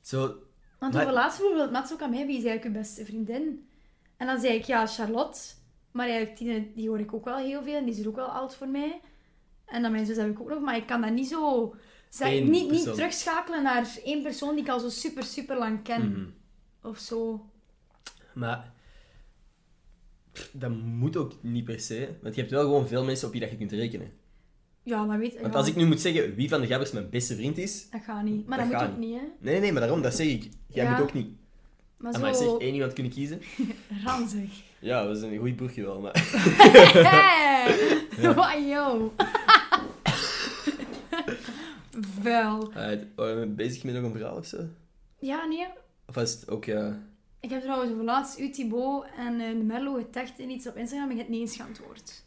Zo... Want Maar- over laatst bijvoorbeeld Mats ook aan mij, wie is eigenlijk uw beste vriendin? En dan zei ik, ja, Charlotte. Maar eigenlijk Tine, die hoor ik ook wel heel veel en die is er ook wel oud voor mij. En dan mijn zus heb ik ook nog, maar ik kan dat niet zo... Zeg, Eén niet, niet persoon. terugschakelen naar één persoon die ik al zo super, super lang ken. mhm. Of zo. Maar pff, dat moet ook niet per se. Want je hebt wel gewoon veel mensen op wie dat je kunt rekenen. Ja, maar weet... Want ja, als ik nu moet zeggen wie van de gabbers mijn beste vriend is... Dat gaat niet. Maar dat, Dat moet gaat ook niet, hè. Nee, nee, nee, maar daarom, dat zeg ik. Jij Ja, moet ook niet. Maar Maar zo... zeg, één iemand kunnen kiezen? [LAUGHS] Ranzig. Ja, we zijn een goed boertje wel, maar... Hey! Wat, yo! [LAUGHS] Wel. [LAUGHS] Alright, waren we bezig met nog een verhaal of zo? Ja, nee, Of was het ook... eh, Ik heb trouwens over laatst u, Thibaut en eh, de Merlo getagd in iets op Instagram en ik heb het niet eens [LAUGHS] geantwoord.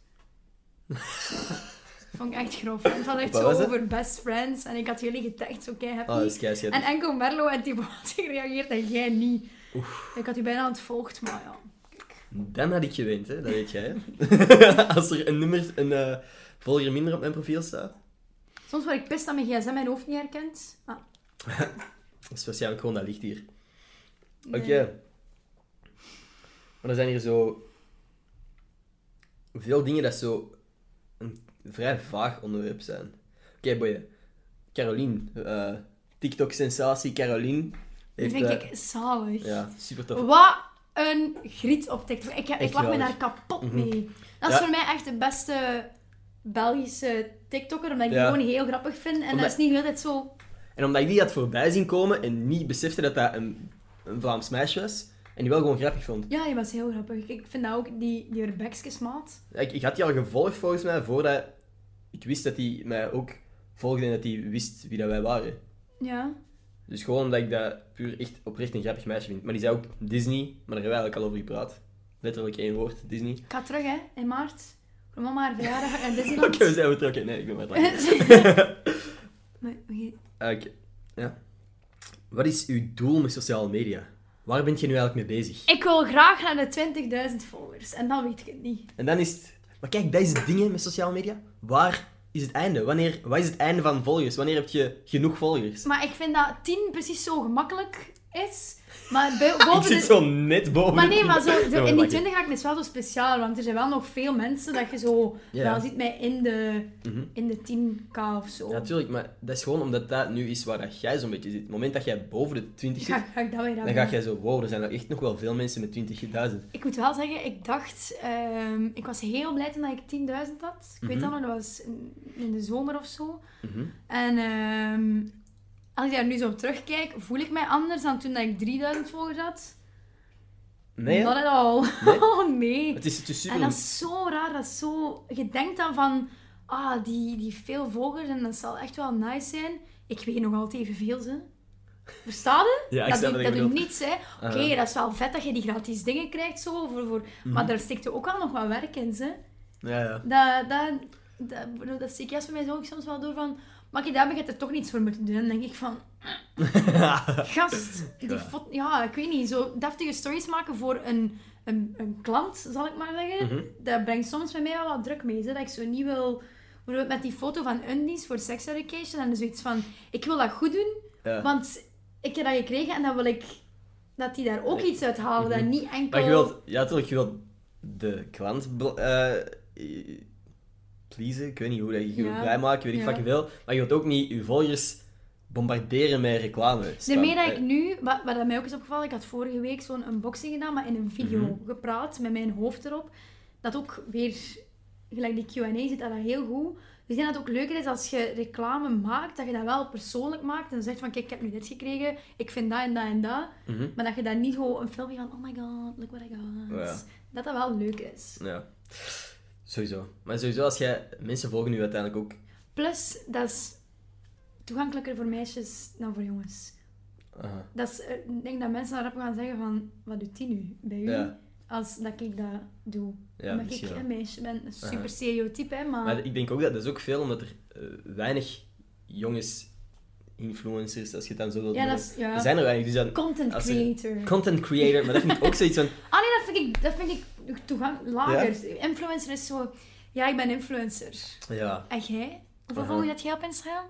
Vond ik echt grof. want Het had echt Wat zo was het? over best friends en ik had jullie getagd, zo kei happy. Ah, dat is kei en enkel Merlo en Thibaut hadden [LAUGHS] gereageerd en jij niet. Ik had u bijna ontvolgd, maar ja. Dan had ik gewend, hè. [LAUGHS] Dat weet [LAUGHS] jij, hè. Als er een nummer... Een eh, volger minder op mijn profiel staat... Soms word ik pist dat mijn gsm mijn hoofd niet herkent. Ah, Dat is waarschijnlijk gewoon dat licht hier. nee. Oké. Maar er zijn hier zo... Veel dingen dat zo... Een vrij vaag onderwerp zijn. Oké, boeien. Caroline. eh, TikTok-sensatie Caroline. Dat Heeft, vind eh, ik Oh. zalig. Ja, super tof. Wat een griet op TikTok. Ik, ik Echt lach me geweldig. daar kapot Mhm. mee. Dat is Ja. voor mij echt de beste Belgische TikToker, omdat ik Ja. die gewoon heel grappig vind. En dat Omdat- is niet altijd zo... En omdat ik die had voorbij zien komen en niet besefte dat dat een, een Vlaams meisje was... En die wel gewoon grappig vond. Ja, die was heel grappig. Ik vind dat ook, die, die maat. Ik, ik had die al gevolgd volgens mij voordat ik wist dat hij mij ook volgde en dat hij wist wie dat wij waren. Ja. Dus gewoon omdat ik dat puur echt oprecht een grappig meisje vind. Maar die zei ook Disney, maar daar hebben we eigenlijk al over gepraat. Letterlijk één woord, Disney. Ik ga terug, hè, in maart. Voor mama haar verjaardag en Oké, Disneyland. we zijn vertrokken. Nee, [LAUGHS] ik ben maar het [LAUGHS] lachen. Maar- oké. Oké, ja. Wat is uw doel met sociale media? Waar bent je nu eigenlijk mee bezig? Ik wil graag naar de 20.000 followers. En dan weet ik het niet. En dan is het... Maar kijk, dat is het ding hè, met sociale media. Waar is het einde? Wanneer... Wat is het einde van volgers? Wanneer heb je genoeg volgers? Maar ik vind dat 10 precies zo gemakkelijk is. Maar bij- [LAUGHS] Ik boven zit de zo net boven Maar de nee, [LAUGHS] maar zo, zo tien. Ja, in die lachen. 20 raken is wel zo speciaal, want er zijn wel nog veel mensen dat je zo Ja. wel ziet mij in de, Mhm. in de 10k of zo. Ja, Natuurlijk, maar dat is gewoon omdat dat nu is waar dat jij zo'n beetje zit. Op het moment dat jij boven de 20 zit, ga, ga ik dat weer aan Dan doen. ga jij zo, wow, er zijn er echt nog wel veel mensen met 20.000. Ik moet wel zeggen, ik dacht, ehm, ik was heel blij toen dat ik 10.000 had. Ik weet Mhm. dat nog, dat was in, in de zomer of zo. Mhm. En ehm, als ik daar nu zo op terugkijk, voel ik mij anders dan toen dat ik 3000 volgers had. Nee, hè? Not at all. Nee? oh [LAUGHS] nee. het is, het is super. En dat is zo raar, dat is zo... Je denkt dan van, ah, die, die veel volgers en dat zal echt wel nice zijn. Ik weet nog altijd evenveel, ze. Verstaan je? Ja, dat Ah, snap doet, wat dat je doet bedoelt. Ah, niets, hè. Oké, Aha. dat is wel vet dat je die gratis dingen krijgt, zo. Voor, voor... Mhm. Maar daar steekt ook wel nog wat werk in, ze. Ja, [LAUGHS] ja. Dat, dat, dat, bedoel, dat zie ik juist voor mij zo ook soms wel door van... Maar ik daar heb ik er toch niets voor moeten doen. Dan denk ik van... Gast, [LAUGHS] die Ja. fot- Ja, ik weet niet. Zo deftige stories maken voor een, een, een klant, zal ik maar zeggen. Mhm. Dat brengt soms bij mij wel wat druk mee. Hè? Dat ik zo niet wil... Bijvoorbeeld met die foto van Undies voor Sex Education. En dan zoiets van... Ik wil dat goed doen, Ja. want ik heb dat gekregen. En dan wil ik dat die daar ook iets uit halen. Dat niet enkel... Mhm. Maar je wilt, ja, natuurlijk, je wilt de klant bl- eh, eh, pleasen. Ik weet niet hoe dat je je Ja. blij maakt, weet ik Ja. fucking veel. Maar je wilt ook niet je volgers bombarderen met reclame. spam. Daarmee dat ik nu, wat, wat dat mij ook is opgevallen, ik had vorige week zo'n unboxing gedaan, maar in een video Mhm. gepraat met mijn hoofd erop. Dat ook weer, gelijk die QA zit dat dan heel goed. Dus ik denk dat het ook leuker is als je reclame maakt, dat je dat wel persoonlijk maakt en zegt van kijk, ik heb nu dit gekregen, ik vind dat en dat en dat. Mhm. Maar dat je dan niet gewoon een filmpje van oh my god, look what I got. Oh Ja. Dat dat wel leuk is. Ja. Sowieso. Maar sowieso, als jij... Mensen volgen u uiteindelijk ook... Plus, dat is toegankelijker voor meisjes dan voor jongens. Aha. Dat is, eh, ik denk dat mensen daarop gaan zeggen van, wat doet die nu bij u? Ja. Als dat ik dat doe. Ja, Omdat misschien ik wel. een meisje ben. Een super Aha. stereotype, hè, maar... Maar ik denk ook dat dat is ook veel omdat er eh, weinig jongens influencers, als je het dan zo wilt ja, dat noemen. is... Ja. Er zijn er weinig, dus dan Content als er- creator. content creator, maar dat vind ik ook zoiets van [LAUGHS] Ah nee, dat vind ik, dat vind ik toegang lager. Influencer is zo... Ja, ik ben influencer. ja, En jij? Hoeveel Aha. volg je dat jij op Instagram?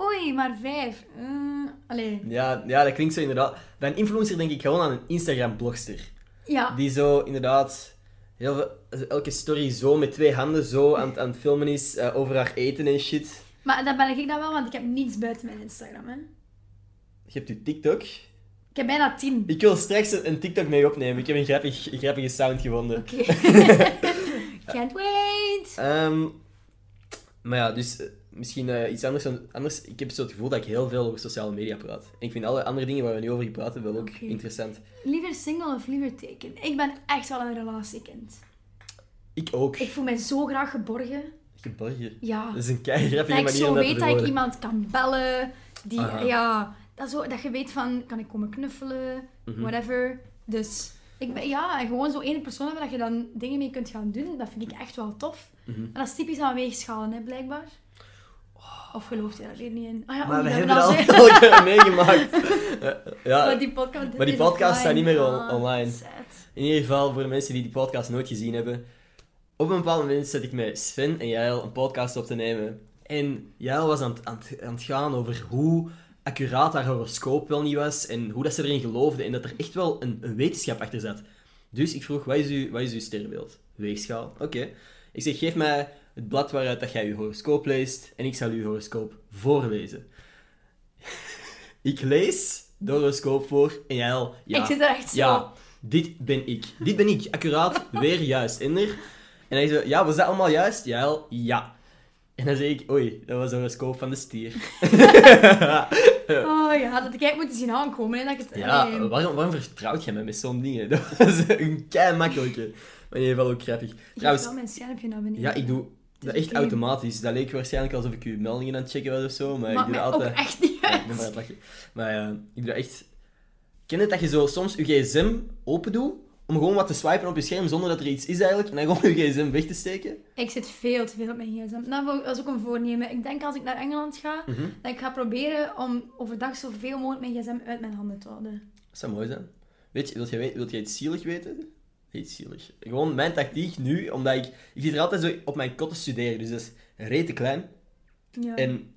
Oei, maar vijf. Mm, allee. ja, ja, dat klinkt zo inderdaad. Bij een influencer denk ik gewoon aan een Instagram blogster Ja. die zo inderdaad heel veel- eh, elke story zo met twee handen zo aan, het- aan het filmen is eh, over haar eten en shit. Maar dat ben ik dan wel, want ik heb niets buiten mijn Instagram, hè. Je hebt je TikTok. Ik heb bijna tien. Ik wil straks een een TikTok mee opnemen. Ik heb een grappig, grappige sound gevonden. Oké. Can't wait. Ehm, maar ja, dus eh, misschien eh, iets anders, dan- anders. Ik heb zo het gevoel dat ik heel veel over sociale media praat. En ik vind alle andere dingen waar we nu over gepraat hebben wel ook Oké. interessant. Liever single of liever taken? Ik ben echt wel een relatiekind. Ik ook. Ik voel mij zo graag geborgen. Geborgen. Ja. Dat is een kei grappige Dat ik manier zo om dat weet te dat ik verwoorden. iemand kan bellen. Die, Aha. ja, dat, zo, dat je weet van, kan ik komen knuffelen? Mhm. Whatever. Dus, ik ben, ja, en gewoon zo één persoon hebben dat je dan dingen mee kunt gaan doen. Dat vind ik echt wel tof. Mhm. En dat is typisch aan weegschalen, hè, blijkbaar. Of gelooft je daar weer niet in? Ah ja, Oh. Maar oei, we hebben dat dat al al gezegd. [LAUGHS] elke meegemaakt. Eh, [LAUGHS] Maar ja, die podcast, Maar die is podcast staat offline. niet meer on- Ah, online. sad. in ieder geval voor de mensen die die podcast nooit gezien hebben. Op een bepaald moment zat ik met Sven en Jael een podcast op te nemen. En Jael was aan het, aan het, aan het gaan over hoe accuraat haar horoscoop wel niet was. En hoe dat ze erin geloofde. En dat er echt wel een, een wetenschap achter zat. Dus ik vroeg, wat is uw, wat is uw sterrenbeeld? Weegschaal. Oké. Ik zeg, geef mij het blad waaruit dat jij uw horoscoop leest. En ik zal uw horoscoop voorlezen. [LAUGHS] ik lees de horoscoop voor. En Jael, ja. Ik zit er echt zo. Ja, dit ben ik. Dit ben ik. Accuraat, [LAUGHS] weer juist. Inder. En hij zei, ja, was dat allemaal juist? Ja, wel, ja. En dan zei ik, oei, dat was een horoscoop van de stier. Oh ja, dat ik eigenlijk moet zien aankomen. Hè, dat ik het, Ehm, Ja, allee. waarom, waarom vertrouwt jij me met zo'n dingen? [LAUGHS] Dat was een kei makkelijke. Maar in ieder geval ook grappig. Ik heb Trouwens, wel mijn schermpje naar beneden. ja, ik doe dat is echt oké. automatisch. Dat leek waarschijnlijk alsof ik uw meldingen aan het checken was of zo, maar ik Maakt doe mij dat altijd. ook echt niet Ja, uit. ik ben maar aan het lachen. Maar eh, ik doe echt... Ken je het dat je zo soms je gsm open doet, om gewoon wat te swipen op je scherm zonder dat er iets is eigenlijk, en dan gewoon [LAUGHS] je gsm weg te steken? Ik zit veel te veel op mijn gsm. Nou, dat is ook een voornemen. Ik denk als ik naar Engeland ga, Mhm. dat ik ga proberen om overdag zoveel mogelijk mijn gsm uit mijn handen te houden. Dat zou mooi zijn. Weet je, wilt jij, we- wilt jij iets zielig weten? Iets zielig. Gewoon mijn tactiek nu, omdat ik... Ik zit er altijd zo op mijn kot te studeren, dus dat is rete klein. Ja. En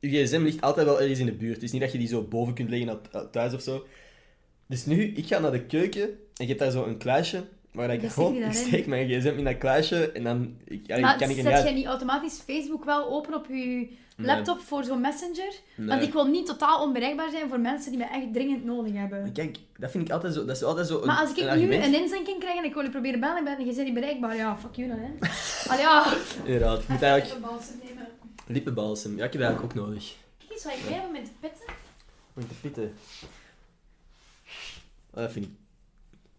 je gsm ligt altijd wel ergens in de buurt. Het is niet dat je die zo boven kunt leggen op- op thuis of zo. Dus nu, ik ga naar de keuken en ik heb daar zo een kluisje. Waar ik Daar steek gewoon, je [LAUGHS] ik daarin. steek mijn gsm in dat kluisje en dan ik, ja, maar kan ik er zet niet jij uit. niet automatisch Facebook wel open op je laptop voor zo'n messenger? Want Nee. ik wil niet totaal onbereikbaar zijn voor mensen die mij echt dringend nodig hebben. Maar Kijk, dat vind ik altijd zo, dat is altijd zo een, Maar als ik een nu argument. een inzinking krijg en ik wil je proberen bellen en ben- je bent niet bereikbaar, ja, fuck you dan, [LAUGHS] hè. Allee, ja. Inderdaad, ik moet eigenlijk nemen. lippenbalsem. Ja, ik heb dat eigenlijk ook nodig. Kijk eens wat ik bij heb met de pitten. Om te pitten. Oh, dat vind ik...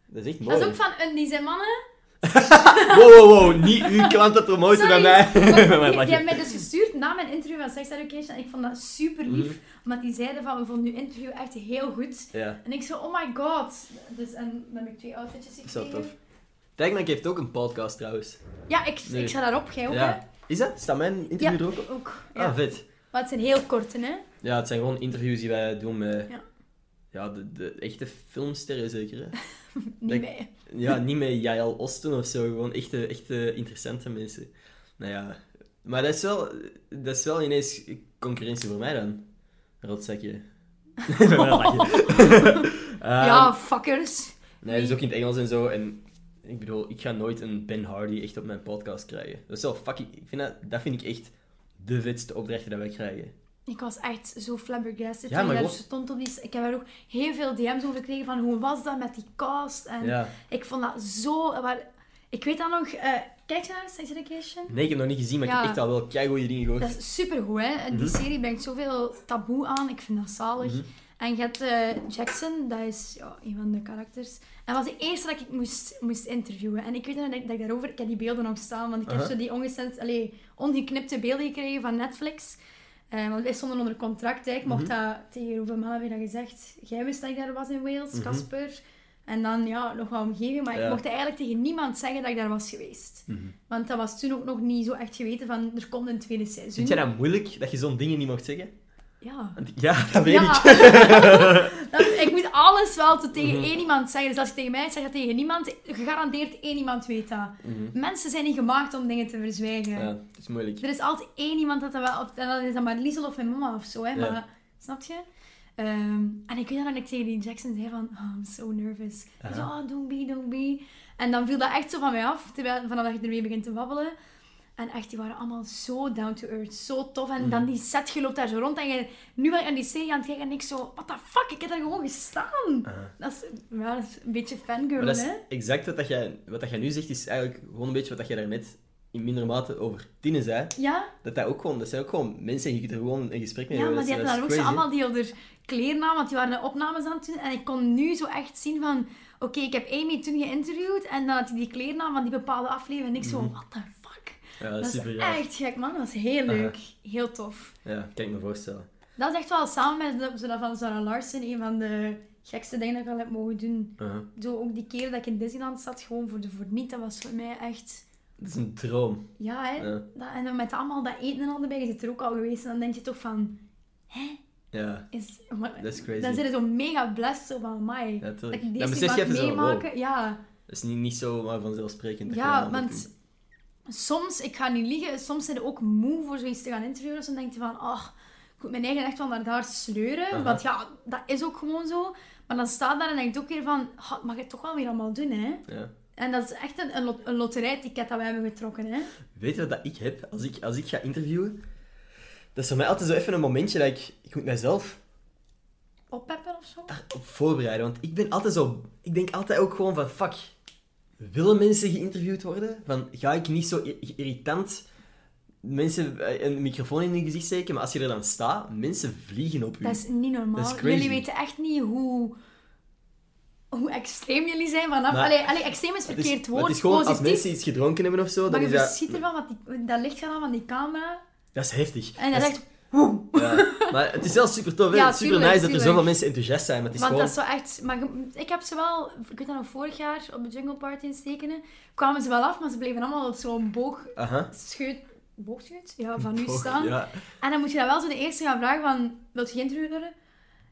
Dat is echt mooi. Dat is ook van Undies en mannen. Wow, wow, wow. Niet uw klant dat promoten bij Sorry. [LAUGHS] mij. Bij mij Die, die lachen. hebben mij dus gestuurd na mijn interview van Sex Education. En ik vond dat super lief. Mhm. Omdat die zeiden van, we vonden uw interview echt heel goed. Ja, En ik zo, oh my god. Dus, en dan heb ik twee outfitjes dat is wel gekregen. tof. Dijkman heeft ook een podcast trouwens. Ja, ik, Nee. ik ga daarop, jij ook, Ja. Is dat? Staat mijn hè? interview er ook op? Ja, ook. Ja. Ah, vet. Maar het zijn heel korte, hè. Ja, het zijn gewoon interviews die wij doen met... Ja. Ja. de, de echte filmsterren zeker, hè? Niet Ik- mij. Ja, niet met Jael Osten of zo. Gewoon echte, echte interessante mensen. Nou ja. Maar dat is wel, dat is wel ineens concurrentie voor mij dan. [LAUGHS] Rotzakje. ja, fuckers. Nee, dat is ook in het Engels en zo. En ik bedoel, ik ga nooit een Ben Hardy echt op mijn podcast krijgen. Dat is wel fucking... Ik vind dat, dat vind ik echt de vetste opdrachten dat wij krijgen. Ik was echt zo flabbergasted. Ja, toen ik maar daar los- stond op die... Ik heb er ook heel veel DM's over gekregen van hoe was dat met die cast. En Ja. ik vond dat zo... Maar ik weet dan nog... eh, kijk je naar Sex Education? Nee, ik heb nog niet gezien, maar ik Ja. heb echt al wel keigoede dingen gehoord. Dat is supergoed, hè. Die Mhm. serie brengt zoveel taboe aan. Ik vind dat zalig. Mhm. En je hebt eh, Jackson, dat is ja, een van de karakters. En dat was de eerste dat ik moest, moest interviewen. En ik weet nog dat ik, dat ik daarover... Ik heb die beelden nog staan, want ik Aha. heb zo die ongecens, allee, ongeknipte beelden gekregen van Netflix. Eh, want wij stonden onder contract, hè. Ik mocht Mhm. dat... Tegen hoeveel mannen heb je dat gezegd? Jij wist dat ik daar was in Wales, Mhm. Casper. En dan, ja, nog wat omgeving. Maar Ja. ik mocht eigenlijk tegen niemand zeggen dat ik daar was geweest. Mhm. Want dat was toen ook nog niet zo echt geweten van, er komt een tweede seizoen. Dus Vind jij dat moeilijk, dat je zo'n dingen niet mocht zeggen? Ja. Want- Ja, dat weet ja. ik. [LAUGHS] Dat- ik moet alles wel te- tegen Mhm. één iemand zeggen. Dus als je tegen mij zegt dat tegen niemand, gegarandeerd één iemand weet dat. Mhm. Mensen zijn niet gemaakt om dingen te verzwijgen. Ja, dat is moeilijk. Er is altijd één iemand dat dat wel... Of, en dat is dan maar Liesel of mijn mama of zo, hè. Ja. Maar, snap je? Ehm, en ik weet nog dat ik tegen die Jackson zei van... Oh, I'm so nervous. Hij zei, Aha. oh, don't be, don't be. En dan viel dat echt zo van mij af, terwijl, vanaf dat je ermee begint te babbelen. En echt, die waren allemaal zo down to earth, zo tof. En Mhm. dan die set, je loopt daar zo rond en je... Nu ben ik aan die serie aan het kijken en ik zo... What the fuck, ik heb daar gewoon gestaan. Aha. Dat is, ja, dat is een beetje fangirl, Maar dat is hè. exact wat, dat jij, wat dat jij nu zegt, is eigenlijk gewoon een beetje wat dat jij daarnet in minder mate over Tine zei. Ja? Dat, dat, ook gewoon, dat zijn ook gewoon mensen en je kunt er gewoon een gesprek mee Ja, hebben. maar die Dat hadden is- daar ook dat is zo crazy, allemaal die onder kleren aan, want die waren de opnames aan het doen. En ik kon nu zo echt zien van... Oké, ik heb Amy toen geïnterviewd en dan had hij die kleren aan van die bepaalde aflevering. En ik zo, Mhm. what the fuck? hè. Ja, dat Dat is is super echt gek, man. Dat is heel Aha. leuk. Heel tof. Ja, kan ik me voorstellen. Dat is echt wel samen met de- zo dat van Sarah Larsen een van de gekste dingen dat ik al heb mogen doen. Aha. Zo ook die keer dat ik in Disneyland zat, gewoon voor de voor niet. Dat was voor mij echt... Dat is een droom. Ja, hè. Ja. Dat, en dan met allemaal dat eten en al erbij, je zit er ook al geweest. En dan denk je toch van... Ja, Is, maar- dat is crazy. Dan zit het zo mega blessed zo van, mij. Ja, tuurlijk. Dat ik Dan deze besef mag je even zo, wow, meemaken. Ja, dat is niet, niet zo maar vanzelfsprekend. dat je dat ja allemaal want soms, ik ga niet liegen, soms zijn ze ook moe voor zoiets te gaan interviewen. Dus dan denk je van, ach, ik moet mijn eigen echt wel naar daar sleuren. Aha. Want ja, dat is ook gewoon zo. Maar dan staat daar en denk je ook weer van, ah, dat mag je toch wel weer allemaal doen, hè. doet. Ja. En dat is echt een, een, lot- een loterijticket dat we hebben getrokken, hè. Weet je wat dat ik heb als ik, als ik ga interviewen? Dat is voor mij altijd zo even een momentje dat ik... Ik moet mijzelf Oppeppen of zo. op voorbereiden. Want ik ben altijd zo... Ik denk altijd ook gewoon van, fuck. Willen mensen geïnterviewd worden? Van, ga ik niet zo ir- irritant mensen eh, een microfoon in hun gezicht steken? Maar als je er dan staat, mensen vliegen op u. Dat is niet normaal. Dat is crazy. jullie weten echt niet hoe, hoe extreem jullie zijn vanaf... Maar- allee, allee, extreem is Het is- verkeerd woord. Het is gewoon, positief. als mensen iets gedronken hebben of zo, Maar dan je is dat... verschiet ervan, want die, dat licht gaat dan van die camera. Dat is heftig. En dat Dat is is- echt... woem. Ja. Maar het is wel super tof. hè. Ja, het is super tuurlijk, nice dat er tuurlijk. zoveel mensen enthousiast zijn. Maar het is Want gewoon... dat is wel echt... Maar je- ik heb ze wel... Ik weet dat nog, vorig jaar op de Jungle Party in Stekenen kwamen ze wel af, maar ze bleven allemaal op zo'n boog... Aha. Scheut... Boogscheut? Ja, van nu Oh, staan. Ja. En dan moet je dat wel zo de eerste gaan vragen van... Wilt je geïnterviewd worden?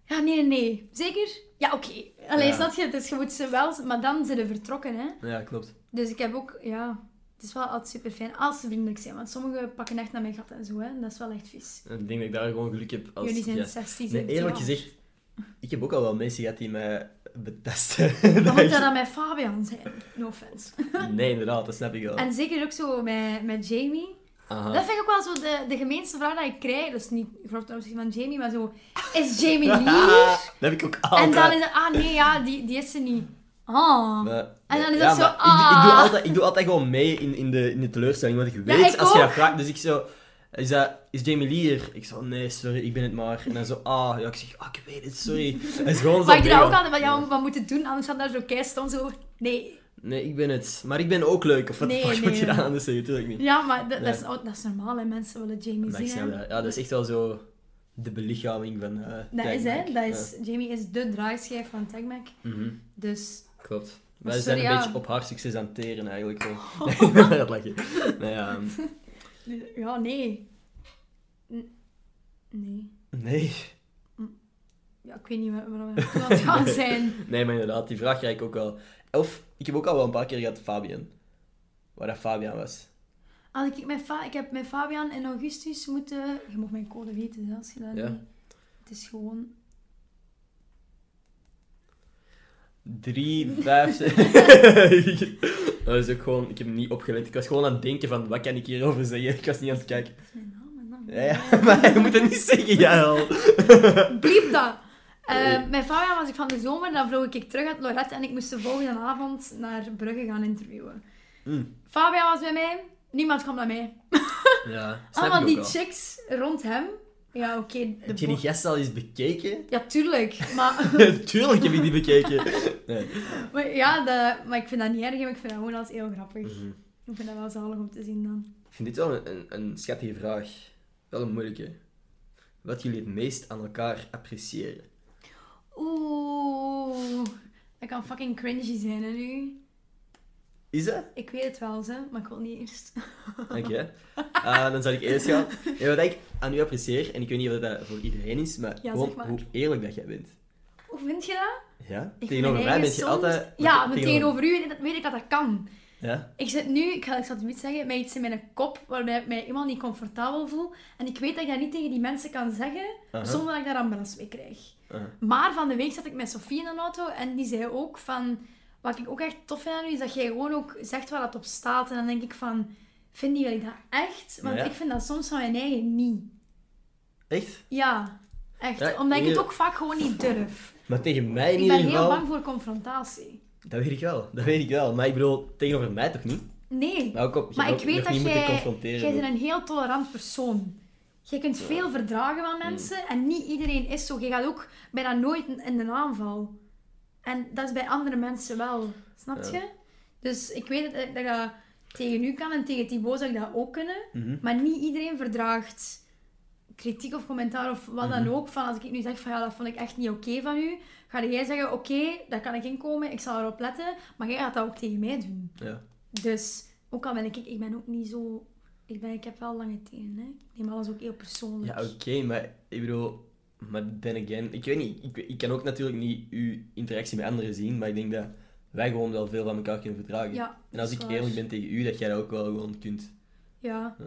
Ja, nee, nee, nee. Zeker? Ja, oké. Alleen, Ja. snap je? Dus je moet ze wel... Maar dan zijn ze vertrokken, hè. Nou ja, klopt. Dus ik heb ook... Ja... Het is wel altijd super fijn als ze vriendelijk zijn, want sommigen pakken echt naar mijn gat en zo, hè. En dat is wel echt vies. Ik denk dat ik daar gewoon geluk heb als Jullie zijn gast. 16, Nee, 17 eerlijk jaar. gezegd, ik heb ook al wel mensen gehad die mij betasten. [LAUGHS] Dan moet dat dan met Fabian zijn. No offense. Nee, inderdaad, dat snap ik wel. En zeker ook zo met, met Jamie. Aha. Dat vind ik ook wel zo de, de gemeenste vraag die ik krijg. Dus niet grof ten opzichte van Jamie, maar zo... Is [LAUGHS] Jamie lief? dat heb ik ook altijd. en dan is het... Ah, nee, ja, die, die is ze niet. Ah. Maar- En dan is ja, het zo, maar Ik, ik, doe ah. altijd, ik doe altijd gewoon mee in, in, de, in de teleurstelling, want ik weet ik als je dat ook. vraagt. Dus ik zo, is, dat, is Jamie Lee hier? Ik zo, nee, sorry, ik ben het maar. En dan zo, ah, ja, ik zeg, ah, ik weet het, [LAUGHS] sorry. Het is gewoon zo Maar ik doe dat mee, ook want- altijd van, ja, wat moeten doen? Anders staat daar zo kei stom zo... Nee. Nee, ik ben het. Maar ik ben ook leuk. Of wat de Nee, fuck nee, moet je dan nee. anders zeggen? Tuurlijk niet. Ja, maar dat, dat, is, Nee. oh, dat is normaal, hè. Mensen willen Jamie Maar ik zien. snap hè. dat. Ja, dat is echt wel zo de belichaming van... eh, Dat Tag is, hè. Mac. Dat is, Jamie is de draaischijf van TagMac. Ja. Mhm. Dus... Klopt. Maar Wij zijn sorry, een ja. beetje op haar succes aan het teren eigenlijk. Zo. [LAUGHS] [LAUGHS] Nee, dat lach je. Nee, ja, ehm, Ja, nee. N- Nee. nee. Ja, ik weet niet waar- waarom we aan het gaan [LAUGHS] zijn. nee, maar inderdaad, die vraag krijg ik ook wel. Of, ik heb ook al wel een paar keer gehad Fabian. Waar dat Fabian was. Had ik, met Fa- ik heb met Fabian in augustus moeten... Je mag mijn code weten, hè, als je dat Ja. niet... Het is gewoon... 3, 5, [LAUGHS] Dat is ook gewoon, ik heb niet opgelet. Ik was gewoon aan het denken van, wat kan ik hierover zeggen? Ik was niet aan het kijken. Dat is mijn naam, mijn naam. Ja, [LAUGHS] ja, [LAUGHS] maar je moet het niet zeggen, ja. al. [LAUGHS] Bliep dat! Eh, Mijn Fabian was ik van de zomer, dan vloog ik terug uit Lorette en ik moest de volgende avond naar Brugge gaan interviewen. Mm. Fabian was bij mij, niemand kwam naar mij. Ja, snap Allemaal ik Ah, die ook wel. chicks rond hem. Ja, oké. de Heb je die bo- gasten al eens bekeken? ja, tuurlijk. Maar, [LAUGHS] Tuurlijk heb ik die bekeken. Nee. maar, ja, de, maar ik vind dat niet erg, maar ik vind dat gewoon als heel grappig. Mhm. Ik vind dat wel zalig om te zien dan. Ik vind dit wel een, een, een schattige vraag. Wel een moeilijke. Wat jullie het meest aan elkaar appreciëren. Oeh, dat kan fucking cringy zijn hè, nu. Is dat? Ik weet het wel, ze, maar ik wil niet eerst. [LAUGHS] Dank je. Eh, dan zal ik eerst gaan. Ja, wat ik aan u apprecieer, en ik weet niet of dat voor iedereen is, maar Ja, gewoon zeg maar. hoe eerlijk dat jij bent. Hoe vind je dat? Ja? Ik tegenover ben mij eigen ben je soms- altijd... Ja, maar tegenover u weet- weet ik dat dat kan. Ja? Ik zit nu, ik ga ik zal het niet zeggen, met iets in mijn kop waarbij ik mij helemaal niet comfortabel voel. En ik weet dat ik dat niet tegen die mensen kan zeggen, Aha. zonder dat ik daar ambulance mee krijg. Aha. Maar van de week zat ik met Sofie in een auto en die zei ook van... Wat ik ook echt tof vind aan u, is dat jij gewoon ook zegt waar dat op staat. En dan denk ik van, vind je dat echt? Want Ja. ik vind dat soms van mijn eigen niet. Echt? Ja, echt. Ja, Omdat ik het hier- ook vaak gewoon niet durf. Maar tegen mij in Ik ieder ben heel geval... bang voor confrontatie. Dat weet ik wel. Dat weet ik wel. Maar ik bedoel, tegenover mij toch niet? Nee. Maar ook op, je Maar hebt ik ook nog weet dat niet moeten jij, confronteren. jij bent een heel tolerant persoon. Jij kunt veel verdragen Mm. van mensen en niet iedereen is zo. Je gaat ook bijna nooit in- in de aanval. En dat is bij andere mensen wel. Snap Ja. je? Dus ik weet dat ik dat ik dat tegen u kan en tegen Thibaut zou ik dat ook kunnen. Mhm. Maar niet iedereen verdraagt kritiek of commentaar of wat dan Mhm. ook. Van als ik nu zeg van ja, dat vond ik echt niet oké van u. Ga jij zeggen oké, daar kan ik inkomen, ik zal erop letten. Maar jij gaat dat ook tegen mij doen. Ja. Dus, ook al ben ik, ik ben ook niet zo... Ik, ben, ik heb wel lange tenen, hè. Ik neem alles ook heel persoonlijk. Ja, oké, maar ik bedoel, maar then again, ik weet niet, ik, ik kan ook natuurlijk niet uw interactie met anderen zien, maar ik denk dat wij gewoon wel veel van elkaar kunnen verdragen. Ja, en als dat ik is eerlijk waar. ben tegen u, dat jij dat ook wel gewoon kunt. Ja. Ja.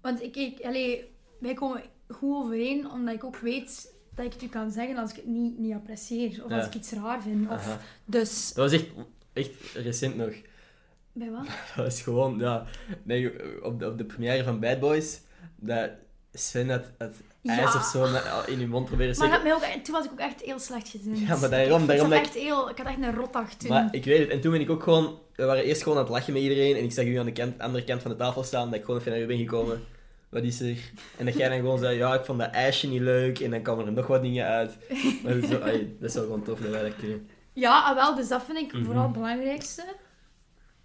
Want ik, ik allee, wij komen goed overeen, omdat ik ook weet dat ik het u kan zeggen als ik het niet, niet apprecieer. Of Ja. als ik iets raar vind. Of, Aha. Dus, Dat was echt, echt recent nog. [LAUGHS] bij wat? Dat was gewoon, ja, nee, op, de, op de première van Bad Boys, dat Sven had het Ja. ijs of zo met- in uw mond proberen te Maar zeggen. dat mij ook, toen was ik ook echt heel slecht gezind. Ja, maar daarom- Ik vond- daarom Ik, dat zat echt heel, ik had echt een rotdag toen. [LAUGHS] Maar ik weet het. En toen ben ik ook gewoon... We waren eerst gewoon aan het lachen met iedereen. En ik zag u aan de kant, andere kant van de tafel staan. Dat ik gewoon even naar u ben gekomen. Wat is er? En dat jij dan gewoon zei... Ja, ik vond dat ijsje niet leuk. En dan kwamen er nog wat dingen uit. Maar dat is, wel- ai, dat is wel gewoon tof dat wij dat kunnen. Ja, ah, wel, dus dat vind ik Mhm. vooral het belangrijkste.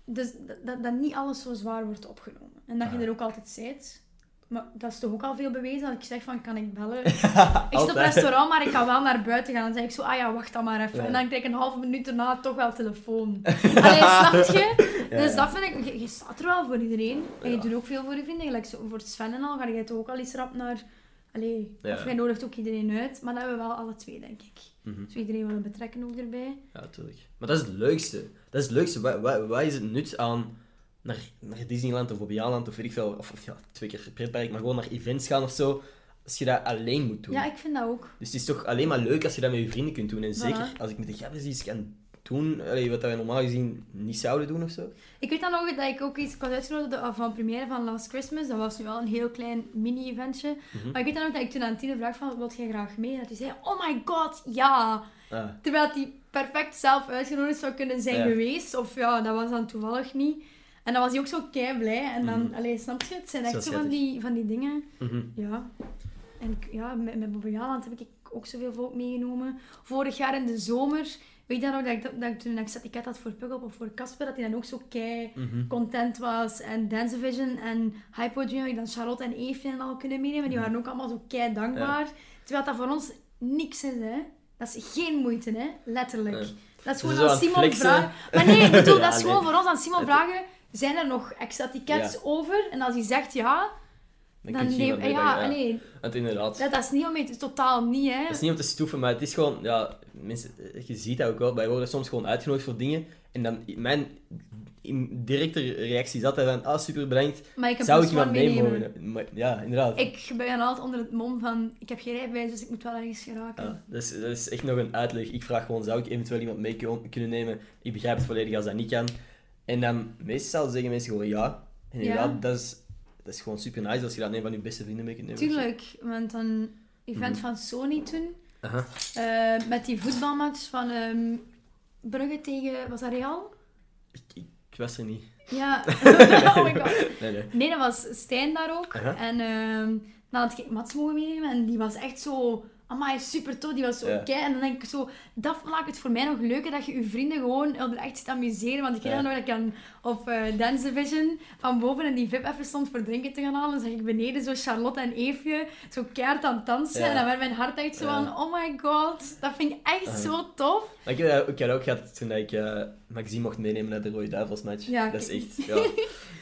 Dus dat, dat, dat niet alles zo zwaar wordt opgenomen. En dat je Ah. er ook altijd zit. Maar dat is toch ook al veel bewezen dat ik zeg van, kan ik bellen? [LAUGHS] ik zit op het Altijd. restaurant, maar ik kan wel naar buiten gaan. Dan zeg ik zo, ah ja, wacht dan maar even. Ja. En dan krijg ik een halve minuut daarna toch wel telefoon. [LAUGHS] Allee, snap je? Ja, dus ja. dat vind ik... Je, je staat er wel voor iedereen. En je Ja. doet ook veel voor je vrienden. Gelijk zo, voor Sven en al ga je toch ook al eens rap naar... Allee, Ja. of jij nodigt ook iedereen uit. Maar dat hebben we wel alle twee, denk ik. Mhm. Dus we iedereen willen betrekken ook erbij. Ja, natuurlijk. Maar dat is het leukste. Dat is het leukste. Wat, wat, wat is het nut aan naar, naar Disneyland of Bobbejaanland of weet ik veel... Of, of ja, twee keer pretpark. Maar gewoon naar events gaan of zo. Als je dat alleen moet doen. Ja, ik vind dat ook. Dus het is toch alleen maar leuk als je dat met je vrienden kunt doen. En zeker Voilà. als ik met de gabbers iets kan doen, allee, wat wij normaal gezien niet zouden doen of zo. Ik weet dan nog dat ik ook iets ik was uitgenodigd op de- van de première van Last Christmas. Dat was nu wel een heel klein mini-eventje. Mhm. Maar ik weet dan ook dat ik toen aan Tine vraag van, wil jij graag mee? En dat hij zei, oh my god, ja! Ah, Terwijl hij perfect zelf uitgenodigd zou kunnen zijn Ja. geweest. Of ja, dat was dan toevallig niet. En dan was hij ook zo kei blij. En dan, Mhm. allee, snap je? Het zijn Zo echt zo van schattig. die, van die dingen. mhm. Ja. En ik- ja, met, met Bobbejaanland heb ik ook zoveel volk meegenomen. Vorig jaar in de zomer, weet je dan nog dat ik, dat, dat ik toen een etiket had voor Pukkelpop of voor Casper, dat hij dan ook zo kei Mhm. content was. En Dance Vision en Hypo Dream heb ik dan Charlotte en Eefje en al kunnen meenemen. Die Mhm. waren ook allemaal zo kei dankbaar. Terwijl dat voor ons niks is, hè. Dat is geen moeite, hè. Letterlijk. Ja. Dat is gewoon zo aan aan het Simon flexen. vragen. Maar nee, [LAUGHS] ik bedoel, Ja, dat is gewoon nee. voor ons aan Simon Het- vragen. Zijn er nog extra tickets Ja. over? En als hij zegt ja, Dan, dan, kun je hier neem... wat mee Ja, doen, nee, Want inderdaad, ja, dat is niet om mee te- totaal niet, hè. dat is niet om te stoeven, maar het is gewoon, ja, mensen, eh, je ziet dat ook wel, wij worden soms gewoon uitgenodigd voor dingen. En dan, mijn in- directe reactie is altijd van, ah, super bedankt, Maar ik heb zou een ik iemand mee meenemen. mogen? Maar- Ja, inderdaad. Ik ben altijd onder het mom van, ik heb geen rijbewijs, dus ik moet wel ergens geraken. Ja, dat, is, dat is echt nog een uitleg. Ik vraag gewoon, zou ik eventueel iemand mee kun- kunnen nemen? Ik begrijp het volledig als dat niet kan. En dan meestal zeggen mensen gewoon ja. En Ja. inderdaad, dat is, dat Dat is gewoon super nice als je dat aan een van je beste vrienden mee kunt nemen. Tuurlijk, want een event Mhm. van Sony toen, Aha. eh, met die voetbalmatch van ehm, Brugge tegen, was dat Real? Ik, ik, ik was er niet. [LAUGHS] Ja, [LAUGHS] oh my god. Nee, nee. Nee, dat was Stijn daar ook. Aha. En ehm, dan had ik Mats mogen meenemen en die was echt zo... Amai, super tof, die was zo Ja. oké. En dan denk ik zo, dat maakt het voor mij nog leuker dat je je vrienden gewoon er echt zit amuseren. Want ik weet Ja. dat nog dat ik aan, op eh Dance Division van boven in die VIP even stond voor drinken te gaan halen. Dan zag ik beneden zo Charlotte en Eefje zo keihard aan het dansen. Ja. En dan werd mijn hart echt zo Ja. van, oh my god, dat vind ik echt Aha. zo tof. Maar ik heb dat- ik heb dat ook gehad toen ik eh Maxime mocht meenemen naar de Rode Duivels match. Ja, dat is ik- echt, [LAUGHS] ja.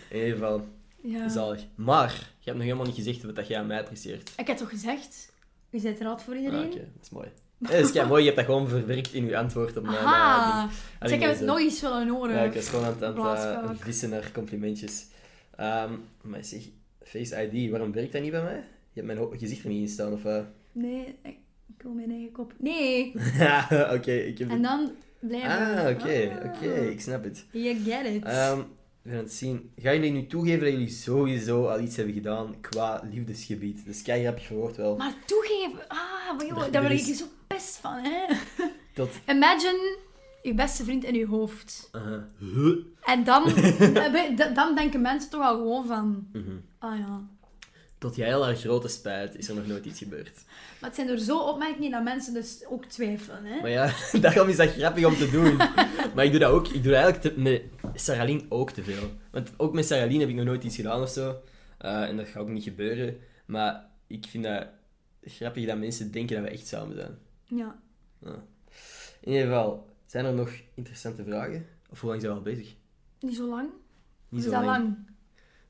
In ieder geval, Ja. zalig. Maar, je hebt nog helemaal niet gezegd wat dat jij aan mij apprecieert. Ik heb toch gezegd, u bent er altijd voor Ah, iedereen. Oké, dat is mooi. Eh, Dat is kei mooi, je hebt dat gewoon verwerkt in je antwoord op mijn... eh, Aha, ding. dus ik heb het nooit eens willen horen. Ja, ik was gewoon aan het, aan het, eh, Blaaskaak. vissen naar complimentjes. Ehm, maar zeg, Face ID, waarom werkt dat niet bij mij? Je hebt mijn ho- gezicht er niet in staan, of... eh? [LAUGHS] Nee, ik ik wil mijn eigen kop. Nee! oké, ik heb... En dan blijven. Ah, oké, oké, Ah, ik snap het. You get it. Ehm we gaan het zien. Gaan jullie nu toegeven dat jullie sowieso al iets hebben gedaan qua liefdesgebied? Dat is kei grappig verwoord wel. maar toegeven. Ah, maar joh, Er- daar er word ik is- hier zo pest van, hè. [LAUGHS] Dat... Imagine je beste vriend in je hoofd. Uh, En dan, [LAUGHS] d- dan denken mensen toch al gewoon van... Mhm. Ah ja. Tot jij al haar grote spijt is er nog nooit iets gebeurd. Maar het zijn er zo opmerkingen dat mensen dus ook twijfelen, hè. Maar ja, [LAUGHS] daarom is dat grappig om te doen. Maar ik doe dat ook. Ik doe dat eigenlijk te- met Saralien ook te veel. Want ook met Saralien heb ik nog nooit iets gedaan of zo. Eh, en dat gaat ook niet gebeuren. Maar ik vind dat grappig dat mensen denken dat we echt samen zijn. Ja. In ieder geval, zijn er nog interessante vragen? Of hoe lang zijn we al bezig? Niet zo lang. Niet is dat lang?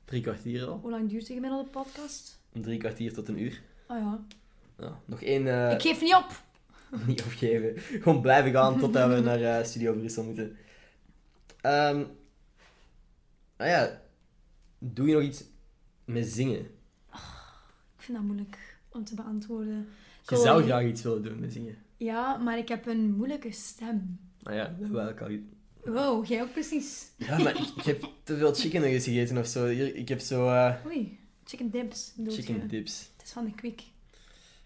Drie kwartier al. Hoe lang duurt de gemiddelde podcast? Om drie kwartier tot een uur. Ah ja. Ja, nog één eh, Ik geef niet op. [LAUGHS] niet opgeven. Gewoon blijven gaan totdat we naar eh, Studio Brussel moeten. Ehm nou ja, doe je nog iets met zingen? Ik vind dat moeilijk om te beantwoorden. Ik Je wil zou niet- graag iets willen doen met zingen. Ja, maar ik heb een moeilijke stem. Nou ja, dat wil ik al. Wow, jij ook precies. Ja, maar ik, ik heb te veel chicken nuggets gegeten of zo. Hier, ik heb zo eh, Oei, chicken dips bedoel je? chicken dips. Het is van de kwik.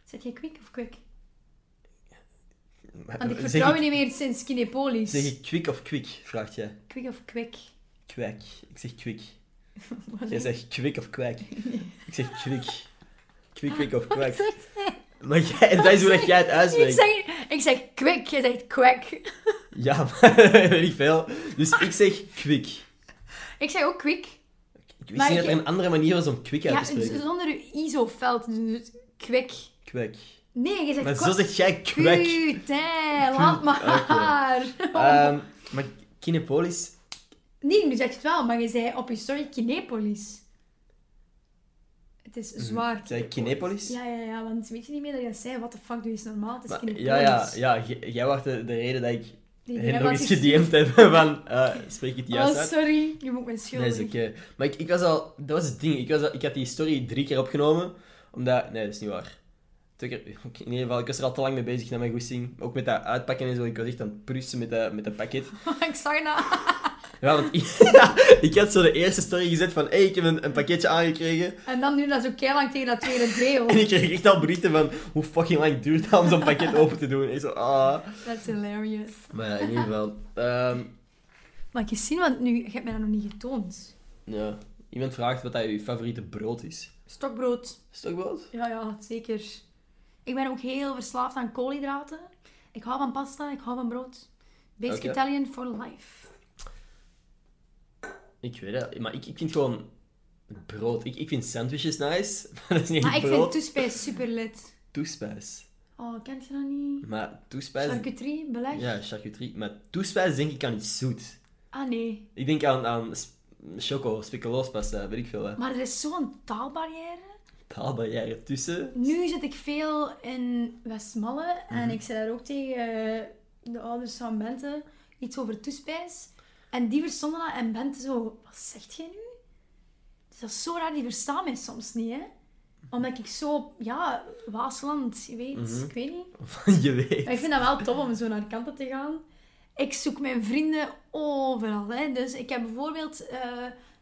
Zet jij kwik of kwik? Maar, Want ik Eh, zeg vertrouw je ik- niet meer sinds Kinepolis. Zeg ik kwik of kwik, vraagt jij. Kwik of kwik? Kwijk. Ik zeg kwik. [LAUGHS] Wat Jij is- zegt kwik of kwijk. Ik zeg kwik. Kwik, kwik of [LAUGHS] Wat kwijk. zegt hij? Maar jij, dat is hoe dat jij het Ik uitspreekt. zeg, ik zeg kwik, jij zegt kwek. Ja, maar [LAUGHS] weet ik veel. Dus ik zeg kwik. Ik zeg ook kwik. Ik wist Maar niet dat er je- een andere manier was om kwik uit Ja, dus- te spreken. zonder je iso fel te doen, dus kwik. Kwek. Nee, je zegt Maar zo kwek. zeg jij kwek. Putain, laat maar. [LAUGHS] Ehm, maar kinepolis... Nee, nu zeg je het wel, maar je zei op je story Kinepolis. Het is zwaar. Mhm. Zei ik Kinepolis? Ja, ja, ja, want weet je niet meer dat je dat zei? Wat de fuck doe je eens normaal? Het is Maar- Kinepolis. ja, ja, ja. j- Jij was de, de reden dat ik Die- die hen nog hebben eens dat ik- gedm'd heb [LAUGHS] van... eh, spreek ik het juist Oh, uit? sorry. Je moet me Nee, schuldig. is [LAUGHS] oké. Maar ik, ik was al... Dat was het ding. Ik, was al- ik had die story drie keer opgenomen, omdat... Nee, dat is niet waar. Twee keer- [LAUGHS] oké, In ieder geval, ik was er al te lang mee bezig naar mijn goesting. Ook met dat uitpakken en zo. Ik was echt aan het prussen met dat, met dat pakket. Oh, ik zag dat. Ja, want ik, [LAUGHS] ik had zo de eerste story gezet van... hey, ik heb een, een pakketje aangekregen. En dan nu dat zo keilang tegen [LAUGHS] dat tweede deel. En ik kreeg echt al berichten van... Hoe fucking lang duurt dat om zo'n pakket [LAUGHS] open te doen? En ik zo... Ah. That's hilarious. Maar ja, in ieder geval... ehm, Maar je zien, want nu, je hebt mij dat nog niet getoond. ja. Iemand vraagt wat dat je favoriete brood is. Stokbrood. Stokbrood? Ja, ja, zeker. Ik ben ook heel verslaafd aan koolhydraten. Ik hou van pasta, ik hou van brood. Basic Oké. Italian for life. Ik weet het. Maar ik, ik vind gewoon... Brood. Ik, ik vind sandwiches nice. [LAUGHS] Maar dat is niet Maar echt ik brood. vind toespijs super lit. Toespijs. Oh, kent je dat niet? Maar toespijs... Charcuterie, beleg? Ja, charcuterie. Maar toespijs denk ik aan iets zoet. Ah nee. Ik denk aan, aan sp- choco, speculoospasta, weet ik veel. hè. Maar er is zo'n taalbarrière. Taalbarrière [LAUGHS] tussen. Nu zit ik veel in Westmalle Mhm. en ik zei daar ook tegen eh, de ouders van Bente iets over toespijs. En die verstonden dat en Bente zo, wat zegt jij nu? Dus dat is zo raar, die verstaan mij soms niet, hè. Omdat ik zo, ja, Waasland, je weet, Mhm. ik weet niet. Je weet. Maar ik vind dat wel tof om zo naar kanten te gaan. Ik zoek mijn vrienden overal. Hè. Dus ik heb bijvoorbeeld eh,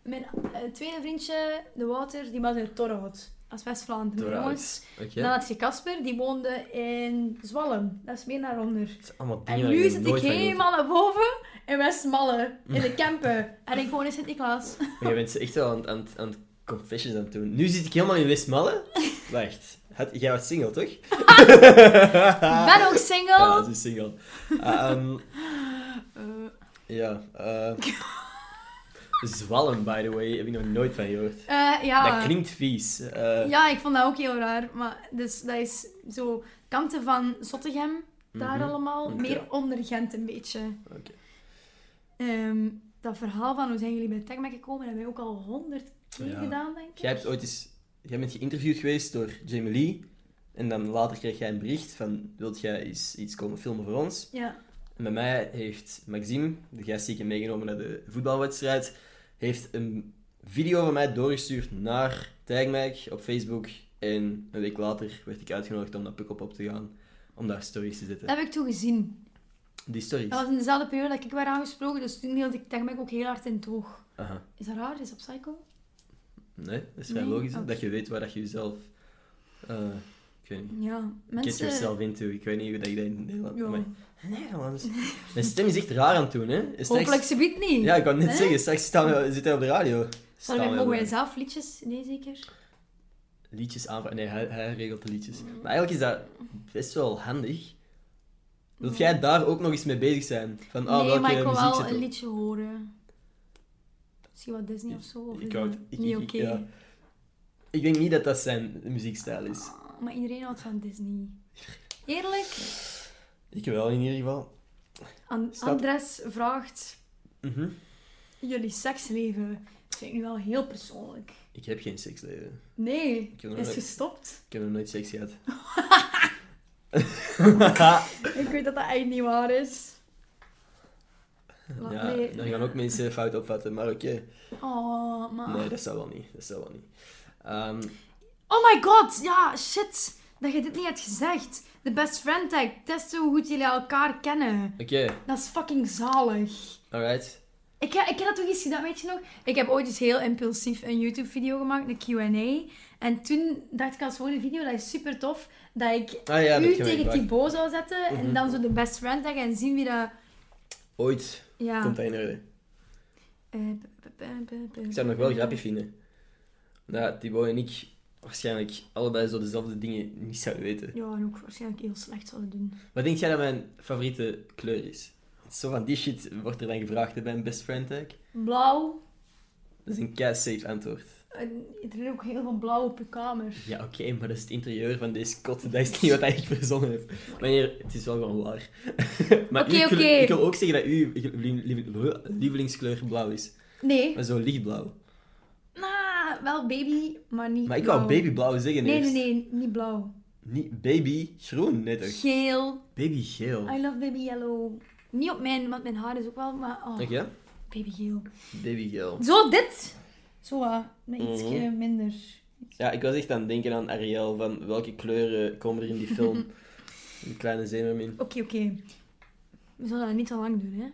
Mijn eh, tweede vriendje, de Wouter, die was in Torhout. als West-Vlaanderen, Torhout. jongens. Nou, Oké. Dan had je Casper, die woonde in Zwallen. Dat is meer naar onder. Het zijn allemaal dingen En waar nu je zit ik nooit van helemaal naar boven in Westmalle, in [LAUGHS] de Kempen. En ik woon in Sint-Niklaas. Maar je bent ze echt wel aan, aan, aan het confessions aan het doen. Nu zit ik helemaal in [LAUGHS] Westmalle. Wacht, had, jij was single, toch? Ik ben Ja, ook single. dat is single. Ah, ehm, Eh, ja, eh [LAUGHS] Zwallen, by the way, heb ik nog nooit van gehoord. eh, ja. Dat klinkt vies. Eh, Ja, ik vond dat ook heel raar. Maar dus, dat is zo kanten van Zottegem, daar Mhm. allemaal. Oké. Meer onder Gent een beetje. Oké. Ehm, dat verhaal van hoe zijn jullie bij TechMac gekomen, dat hebben we ook al honderd keer Ja. gedaan, denk ik. Jij hebt ooit eens... Jij bent geïnterviewd geweest door Jamie Lee. En dan later kreeg jij een bericht van... Wilt jij eens iets komen filmen voor ons? Ja. En bij mij heeft Maxime, de gast die ik heb meegenomen naar de voetbalwedstrijd, heeft een video van mij doorgestuurd naar Tijgmijk op Facebook. En een week later werd ik uitgenodigd om naar Pukkelpop op te gaan, om daar stories te zetten. Dat heb ik toen gezien. Die stories. Dat was in dezelfde periode dat ik werd aangesproken, dus toen hield ik TechMac ook heel hard in het oog. Aha. Is dat raar? Is dat psycho? Nee, dat is vrij Nee? Oh. logisch, Oké. dat je weet waar dat je jezelf... eh, ik weet niet. Ja, Get mensen... yourself into. Ik weet niet hoe dat ik dat in Nederland... Ja. maar- Nederlands. Mijn stem is echt raar aan het doen, hè. Straks- Hopelijk ze biedt niet. Ja, ik kan net Hè? zeggen. Straks staan we, zitten we op de radio. Staan Zouden we wij- mogen op de wij zelf liedjes? Nee, zeker. liedjes aanvragen. Nee, hij, hij regelt de liedjes. Maar eigenlijk is dat best wel handig. Wilt jij daar ook nog eens mee bezig zijn? Van, ah, nee, welke maar ik wil muziek wel zit een op? liedje horen. Misschien wat Disney of zo. Of Ik is hou dat het- ik- niet ik- oké. ik- ja. Ik denk niet dat dat zijn muziekstijl is. Ah, maar iedereen houdt van [LAUGHS] Disney. Eerlijk, Ik wel, in ieder geval. An- Staat- Andres vraagt Mhm. jullie seksleven. Dat vind ik nu wel heel persoonlijk. Ik heb geen seksleven. Nee, Ik heb nog is nooit- gestopt. Ik heb nog nooit seks [LAUGHS] gehad. Ik weet dat dat echt niet waar is. Laat- ja, nee. daar gaan ook mensen fout opvatten, maar oké. Oh, maar... Nee, dat zou wel niet. Dat zou wel niet. Ehm, Oh my god, ja, shit. Dat je dit niet hebt gezegd. De best friend tag. Testen hoe goed jullie elkaar kennen. oké, Dat is fucking zalig. alright. Ik, heb- ik heb dat toch eens gedaan, weet je nog? Ik heb ooit eens heel impulsief een YouTube-video gemaakt, een Q&A. En toen dacht ik als volgende video, dat is super tof, dat ik Ah ja, dat u kan ik tegen wel. Thibaut zou zetten en Mhm. dan zo de best friend tag en zien wie dat... Ooit Ja. komt dat in orde. Eh, p- p- p- p- p- Ik zou het nog wel grappig vinden. Dat Thibaut en ik waarschijnlijk allebei zo dezelfde dingen niet zouden weten. Ja, en ook waarschijnlijk heel slecht zouden doen. Wat denk jij dat mijn favoriete kleur is? Want Zo van die shit wordt er dan gevraagd hè, bij een best friend tag. Blauw. Dat is een kei safe antwoord. En er is ook heel veel blauw op je kamer. Ja, oké, maar dat is het interieur van deze kot. Dat is niet wat hij echt verzonnen heeft. Meneer, het is wel gewoon waar. [LAUGHS] maar Oké, ik, wil, oké. ik wil ook zeggen dat uw lieveling- lieveling- lievelingskleur blauw is. Nee. Maar zo lichtblauw. Nou, wel baby, maar niet Maar ik blauw. wou babyblauw zeggen Nee, eerst. nee, nee, niet blauw. Niet baby groen, net toch? Geel. Babygeel. I love baby yellow. Niet op mijn, want mijn haar is ook wel, maar... Oh, Oké, babygeel. babygeel. Zo, dit! Zo, ah, maar iets Mhm. eh, minder. Ja, ik was echt aan het denken aan Ariel, van welke kleuren komen er in die [LAUGHS] film? Een kleine zeemermin. Oké, oké. We zullen dat niet te lang doen, hè.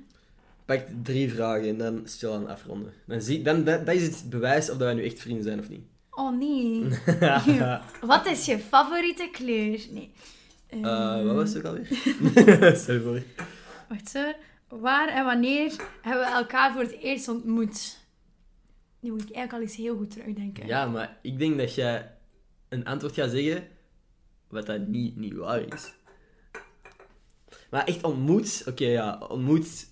Pak drie vragen en dan stilaan afronden. Dan zie, dan, dat, dat is het bewijs of dat wij nu echt vrienden zijn of niet. Oh, [LAUGHS] nee. [LAUGHS] Wat is je favoriete kleur? Nee. Eh, Eh, wat was het ook alweer? Stel je voor. Wacht, zo. Waar en wanneer hebben we elkaar voor het eerst ontmoet? Nu moet ik eigenlijk al eens heel goed terugdenken. Ja, maar ik denk dat jij een antwoord gaat zeggen wat dat niet, niet waar is. Maar echt ontmoet, oké ja, ontmoet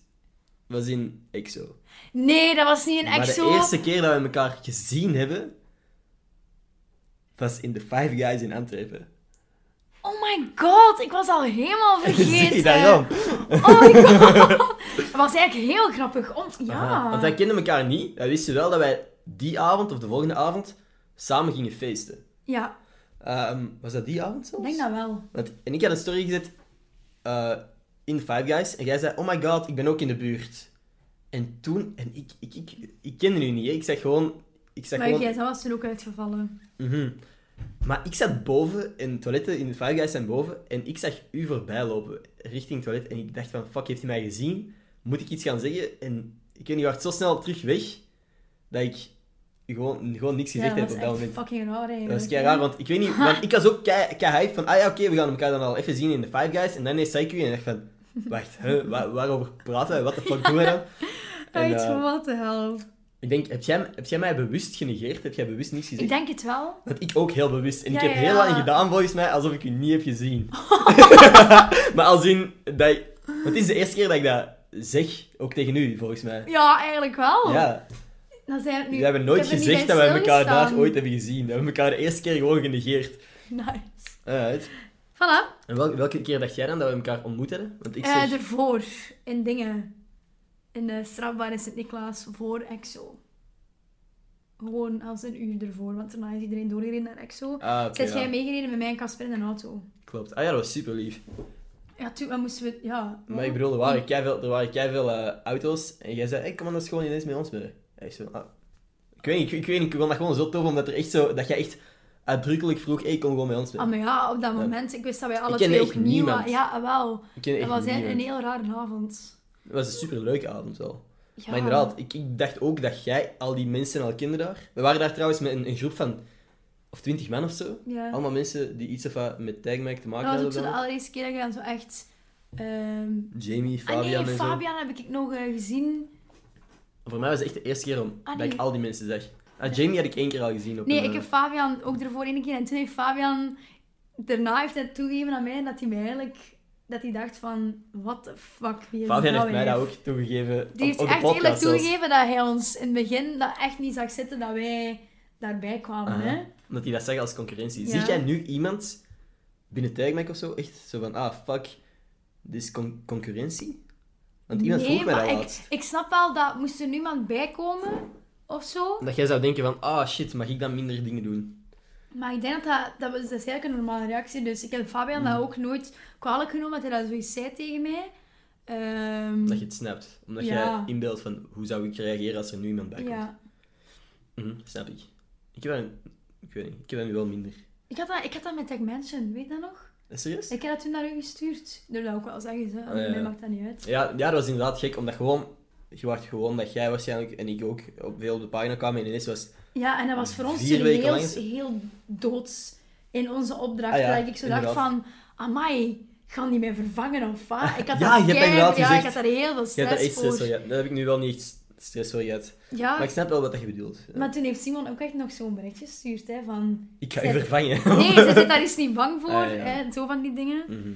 was in EXO. Nee, dat was niet een Maar exo. de eerste keer dat we elkaar gezien hebben, was in The Five Guys in Antwerpen. [LAUGHS] Oh my god, ik was al helemaal vergeten. Zie je daarom? Oh my god. [LAUGHS] Dat was eigenlijk heel grappig. Om... Aha, Ja. Want wij kenden elkaar niet. Wij wisten wel dat wij die avond of de volgende avond samen gingen feesten. Ja, Ehm, was dat die avond zelfs? ik denk dat wel. Want, en ik had een story gezet eh, in Five Guys. En jij zei, oh my god, ik ben ook in de buurt. En toen... En ik, ik, ik, ik kende u niet. Hè. Ik zag gewoon... Ik zag Maar gewoon jij, dat was toen ook uitgevallen. Mhm. Maar ik zat boven in toiletten, in de Five Guys zijn boven, en ik zag u voorbij lopen richting het toilet. En ik dacht van, fuck, heeft hij mij gezien? Moet ik iets gaan zeggen? En ik weet niet, je werd zo snel terug weg, dat ik gewoon, gewoon niks Ja, gezegd heb dat was op dat echt moment. fucking raar eigenlijk. Dat is kei raar, want ik weet [LAUGHS] niet, want ik was ook kei, kei hyped van, ah ja, oké, we gaan elkaar dan al even zien in de Five Guys. En dan is Saiku en ik dacht van, wacht, huh, waar- waarover praten we? Wat de fuck doen we [LAUGHS] dan? En, Uit, eh, what the hell. ik denk, heb jij, heb jij mij bewust genegeerd? Heb jij bewust niets gezegd? Ik denk het wel. Dat ik ook heel bewust. En ik Ja, heb ja, heel ja. lang gedaan, volgens mij, alsof ik u niet heb [LAUGHS] gezien. [LAUGHS] maar als in, dat ik- want het is de eerste keer dat ik dat zeg, ook tegen u, volgens mij. Ja, eigenlijk wel. Ja, Dan zijn het Oh. nu... we hebben nooit gezegd dat we elkaar daar ooit hebben gezien. Dat we elkaar de eerste keer gewoon genegeerd. hebben. Nice. Alright. Voilà. En wel- welke keer dacht jij dan dat we elkaar ontmoet hebben? Want ik Eh, zeg... ervoor. In dingen. In de strafbaar in Sint-Niklaas. Voor EXO. Gewoon als een uur ervoor. Want daarna is iedereen doorgereden naar EXO. Ah, oké, Zet jij ja. meegereden met mij en Casper in een auto? Klopt. Ah ja, dat was super lief. Ja, toen dan moesten we... Ja. hm. Maar ik bedoel, er waren keiveel, er waren keiveel eh, auto's. En jij zei, hey, kom anders gewoon ineens met ons mee. En ik zo, ah. Ik weet niet, ik, ik weet niet, ik vond dat gewoon zo tof, omdat er echt zo, dat jij echt uitdrukkelijk vroeg, hey, kom gewoon met ons mee. Ah, maar ja, op dat moment, ik wist dat wij alle kende twee echt ook nieuw niemand. waren. Ja, wel. ik ken Dat echt was een, niemand. een e- heel rare avond. Het was een super leuke avond wel. Ja. Maar inderdaad, ik, ik dacht ook dat jij al die mensen al kende daar. We waren daar trouwens met een, een groep van, of twintig man of zo. Ja. Allemaal mensen die iets of wat met Tagmac te maken Dat was hadden. ook zo de dan. allereerste keer dat ik dan zo echt... ehm, Jamie, Ah Fabian nee, en zo. Fabian heb ik nog eh, gezien. Voor mij was het echt de eerste keer om, Ah, dat ik nee. al die mensen zag. Ah, Jamie had ik één keer al gezien op Nee, een, ik heb eh, Fabian ook ervoor één keer. En toen heeft Fabian... Daarna heeft hij toegegeven aan mij dat hij mij eigenlijk... Dat hij dacht van... What the fuck, wie is Fabian die heeft vrouw mij hier? dat ook toegegeven. op- Die heeft op de echt podcast eerlijk zelfs. toegegeven dat hij ons in het begin dat echt niet zag zitten dat wij daarbij kwamen. Aha. Hè? Omdat hij dat zegt als concurrentie. Ja. Zie jij nu iemand binnen Tagmac of zo echt zo van, ah fuck, dit is con- concurrentie? Want iemand nee, vroeg mij maar dat laatst. ik, ik snap wel dat moest er niemand bij komen of zo. Dat jij zou denken van, ah shit, mag ik dan minder dingen doen? Maar ik denk dat dat, dat, was, dat is eigenlijk een normale reactie. Dus ik heb Fabian Hmm. dat ook nooit kwalijk genomen dat hij dat zoiets zei tegen mij. Ehm, Omdat je het snapt. Omdat Ja. jij inbeeldt van, hoe zou ik reageren als er nu iemand bij komt? ja. Mhm, snap ik. Ik heb, dat- ik, weet niet, ik heb dat nu wel minder. ik, had dat, ik had dat met Tech Mansion, weet je dat nog? Serieus? Ik heb dat toen naar u gestuurd. Dat wil ik ook wel zeggen, ze. Ah, ja, mij ja. maakt dat niet uit. Ja, ja, dat was inderdaad gek, omdat gewoon... Je wacht gewoon dat jij waarschijnlijk en ik ook op, veel op de pagina kwamen en ineens was het- Ja, en dat was voor ons Ah, Vier weken lang serieus is- heel doods in onze opdracht. Ah ja, dat ik zo dacht inderdaad. van, amai, gaan die mij vervangen of wat? [LAUGHS] Ik had Ja, daar je hebt dat kei- inderdaad ja, ik gezegd. had daar heel veel Je hebt daar stress echt stress voor voor. gehad. Dat heb ik nu wel niet echt stress voor gehad. Ja, Maar ik snap wel wat dat je bedoelt. Ja. maar toen heeft Simon ook echt nog zo'n berichtje gestuurd, hè, [LAUGHS] van... Ik ga je vervangen. Nee, ze zit daar eens niet bang voor, Ah, ja. hè, zo van die dingen. [LAUGHS] Mhm.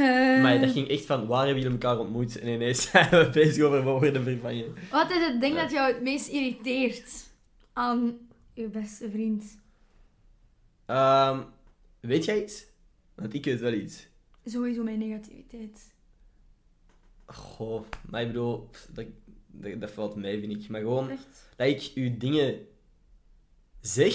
Eh, Maar dat ging echt van, waar hebben jullie elkaar ontmoet? En ineens [LAUGHS] zijn we bezig over wat worden vervangen. Ehm, Wat is het ding Ja. dat jou het meest irriteert aan je beste vriend? Ehm, weet jij iets? Want ik weet wel iets. Sowieso mijn negativiteit. Goh, maar ik bedoel, pff, dat, dat, dat valt mee, vind ik. Maar gewoon, Echt? dat ik u dingen zeg.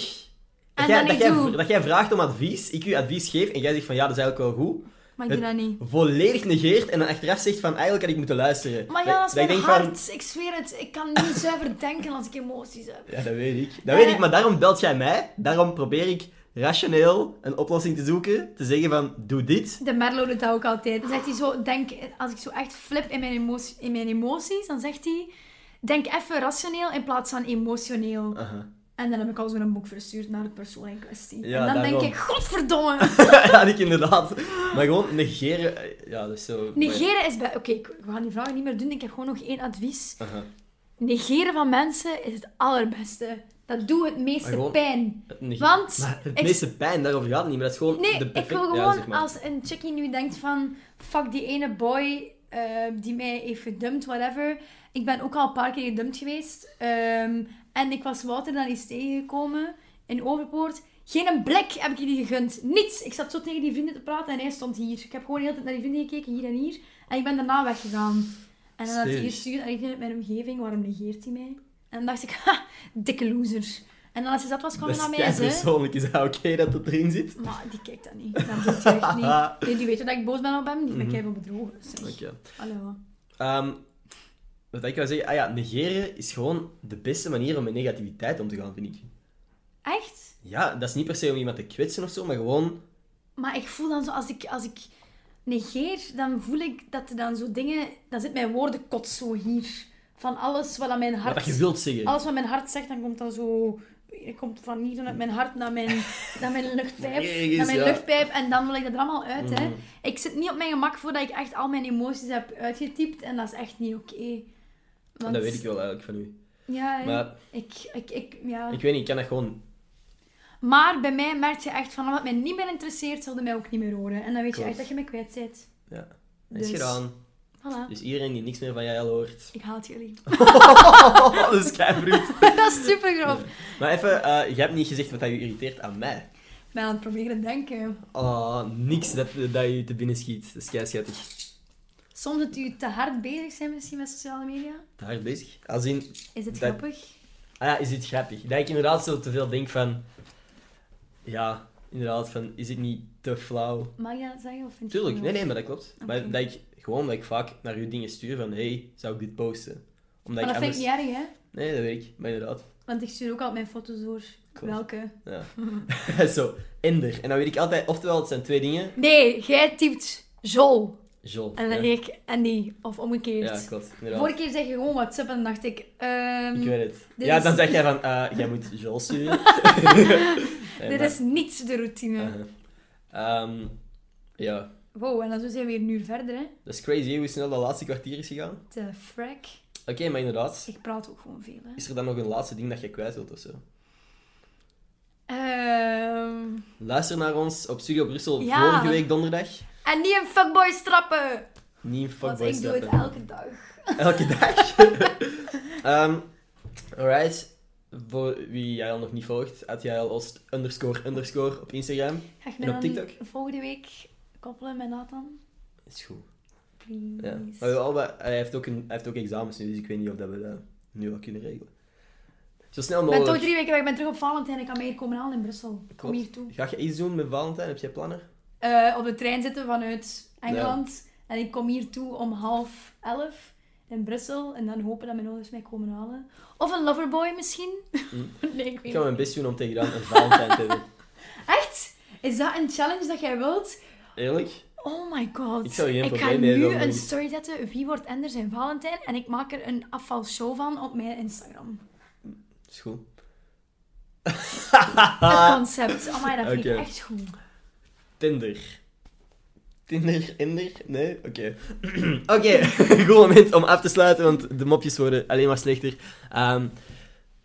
Dat En jij, dan dat, niet jij, doe. dat jij vraagt om advies, ik u advies geef en jij zegt van ja, dat is eigenlijk wel goed. Maar ik doe Het- dat niet. Volledig negeert en dan achteraf zegt van eigenlijk had ik moeten luisteren. Maar ja, dat is ik mijn denk hart. Ik zweer het. Ik kan niet [LAUGHS] zuiver denken als ik emoties heb. Ja, dat weet ik. Dat weet ik, maar daarom belt jij mij. Daarom probeer ik rationeel een oplossing te zoeken. Te zeggen van, doe dit. De Merlo doet dat ook altijd. Dan zegt hij zo, denk, als ik zo echt flip in mijn, emotie, in mijn emoties, dan zegt hij, denk even rationeel in plaats van emotioneel. Aha. [LAUGHS] En dan heb ik al zo'n boek verstuurd naar de persoon in kwestie. Ja, en dan daarom. denk ik, godverdomme. [LAUGHS] ja, ik inderdaad. Maar gewoon negeren. eh, Ja, dat is zo... Negeren is bij... Oké, ik- we gaan die vragen niet meer doen. Ik heb gewoon nog één advies. Aha. Negeren van mensen is het allerbeste. Dat doet het meeste Maar gewoon- pijn. Het nege- Want Maar het ik- meeste pijn, daarover gaat het niet. Maar dat is gewoon Nee, de ik perfecte... wil gewoon ja, zeg maar. als een chickie nu denkt van... Fuck die ene boy eh, die mij heeft gedumpt, whatever. Ik ben ook al een paar keer gedumpt geweest. ehm, en ik was Wouter dan eens tegengekomen in Overpoort. Geen een blik heb ik die gegund. Niets. Ik zat zo tegen die vrienden te praten en hij stond hier. Ik heb gewoon de hele tijd naar die vrienden gekeken, hier en hier. En ik ben daarna weggegaan. En dan had hij Sterk. gestuurd aan iedereen uit mijn omgeving, waarom negeert hij mij? En dan dacht ik, [LAUGHS] ha, dikke loser. En dan als hij zat was, kwam hij Dat naar is mij en zei... persoonlijk. Is dat oké dat dat erin zit? Maar die kijkt dat niet. Dat doet hij [LAUGHS] echt niet. Nee, die weet dat ik boos ben op hem. Die vind ik even bedrogen. dus Zeg. Mhm. Oké. Hallo. Ehm, wat ik wil zeggen... Ah ja, negeren is gewoon de beste manier om met negativiteit om te gaan, vind ik. Echt? Ja, dat is niet per se om iemand te kwetsen of zo, maar gewoon... Maar ik voel dan zo, als ik, als ik negeer, dan voel ik dat er dan zo dingen... Dan zit mijn woordenkot zo hier. van alles wat aan mijn hart... Wat dat je wilt zeggen. Alles wat mijn hart zegt, dan komt dat zo... Het komt van hier vanuit mijn hart naar mijn, [LAUGHS] naar mijn luchtpijp. Nergens, naar mijn ja. luchtpijp. En dan wil ik dat er allemaal uit, hè. Mhm. Ik zit niet op mijn gemak voordat ik echt al mijn emoties heb uitgetypt. En dat is echt niet oké. Want- Dat weet ik wel eigenlijk van u. Ja, hè. Maar ik, ik, ik, ja. ik weet niet, ik kan dat gewoon... Maar bij mij merk je echt van, wat mij niet meer interesseert, zulde mij ook niet meer horen. En dan weet je Klopt. echt dat je me kwijt bent. Ja. Dat Dus, Is gedaan. Voilà. Dus iedereen die niks meer van jij al [LAUGHS] hoort... Ik [LAUGHS] haat jullie. Oh, dat is keivroed. dat is super grof. Maar even, eh, je hebt niet gezegd wat dat je irriteert aan mij. Ik ben aan het proberen denken. Oh, niks dat, dat je te binnen schiet. Dat is keischettig. Soms dat u te hard bezig zijn misschien met sociale media. Te hard bezig. Als in, Is het Dat- grappig? ah ja, is dit grappig? Dat ik inderdaad zo te veel denk van... Ja, inderdaad, van is het niet te flauw? Mag je dat zeggen? Of vind je Tuurlijk, het nee, niet nee, maar dat klopt. Oké. Maar dat ik gewoon dat ik vaak naar uw dingen stuur van hey, zou ik dit posten? Omdat Maar dat ik vind anders. ik niet erg, hè? Nee, dat weet ik, maar inderdaad. Want ik stuur ook altijd mijn foto's door. Klopt. Welke? [LAUGHS] Ja. [LAUGHS] Zo, Ender. En dan weet ik altijd, oftewel het zijn twee dingen. Nee, jij typt Jol. Jol. En dan ja. ik Andy. Of omgekeerd. ja, klopt. Inderdaad. Vorige keer zeg je gewoon WhatsApp en dan dacht ik... ehm, Ik weet het. dit Ja, is- dan zeg jij van, eh, jij moet Jol sturen. [LAUGHS] Nee, dit maar- is niet de routine. Uh-huh. Ehm, ja, Wow, en dan zo zijn we weer een uur verder, hè? dat is crazy hè, hoe snel dat laatste kwartier is gegaan. De frack. Oké, maar inderdaad. Ik praat ook gewoon veel, hè? Is er dan nog een laatste ding dat je kwijt wilt of zo? Ehm, Luister naar ons op Studio Brussel Ja. vorige week donderdag. En niet een fuckboy strappen! Niet Want fuckboy ik doe het stappen. elke dag. [LAUGHS] Elke dag. [LAUGHS] Ehm, alright. Voor wie jij al nog niet volgt, had jij al als underscore underscore op Instagram. Ga En je me op dan TikTok? volgende week koppelen met Nathan? Is goed. Please. Ja. Maar wel, maar hij, heeft ook een, hij heeft ook examens nu, dus ik weet niet of dat we dat nu al kunnen regelen. Zo snel Ik ben mogelijk. toch drie weken weg, ik ben terug op Valentijn. Ik kan mij hier komen halen in Brussel. Ik kom Klopt. hier toe. Ga je iets doen met Valentijn? Heb jij plannen? Eh, op de trein zitten vanuit Engeland. En ik kom hier toe om half elf in Brussel. En dan hopen dat mijn ouders mij komen halen. Of een loverboy misschien. Mm. [LAUGHS] nee, ik Ik weet ga niet. mijn best doen om tegen dan een Valentijn te hebben. [LAUGHS] Echt? Is dat een challenge dat jij wilt? Eerlijk? Oh my god. Ik zou geen Ik ga probleem hebben, nu maar een niet. story zetten. Wie wordt Ender zijn Valentijn? En ik maak er een afvalshow van op mijn [LAUGHS] Instagram. Is goed. Het concept. Amai, dat vind Oké. ik echt goed. Tinder. Tinder, Inder? Nee? Oké. [CLEARS THROAT] Oké, [LAUGHS] goed moment om af te sluiten, want de mopjes worden alleen maar slechter. Ehm,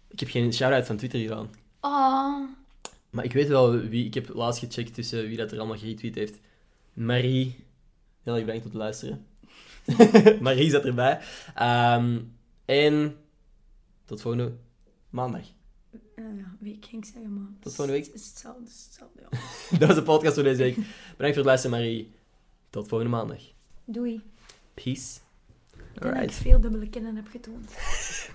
ik heb geen shout-out van Twitter gedaan. Oh. Maar ik weet wel wie... Ik heb laatst gecheckt tussen wie dat er allemaal geretweet heeft. Marie. Heel erg bedankt om te luisteren. [LAUGHS] Marie zat erbij. Ehm, en... Tot volgende maandag. [LAUGHS] eh, ja, week ging ik zeggen, maar... Tot volgende week. Het is hetzelfde, het is [LAUGHS] hetzelfde, ja. Dat was de podcast voor deze week. Bedankt voor het luisteren, Marie. Tot volgende maandag. Doei. Peace. Ik denk dat ik Alright. veel dubbele kennen heb getoond.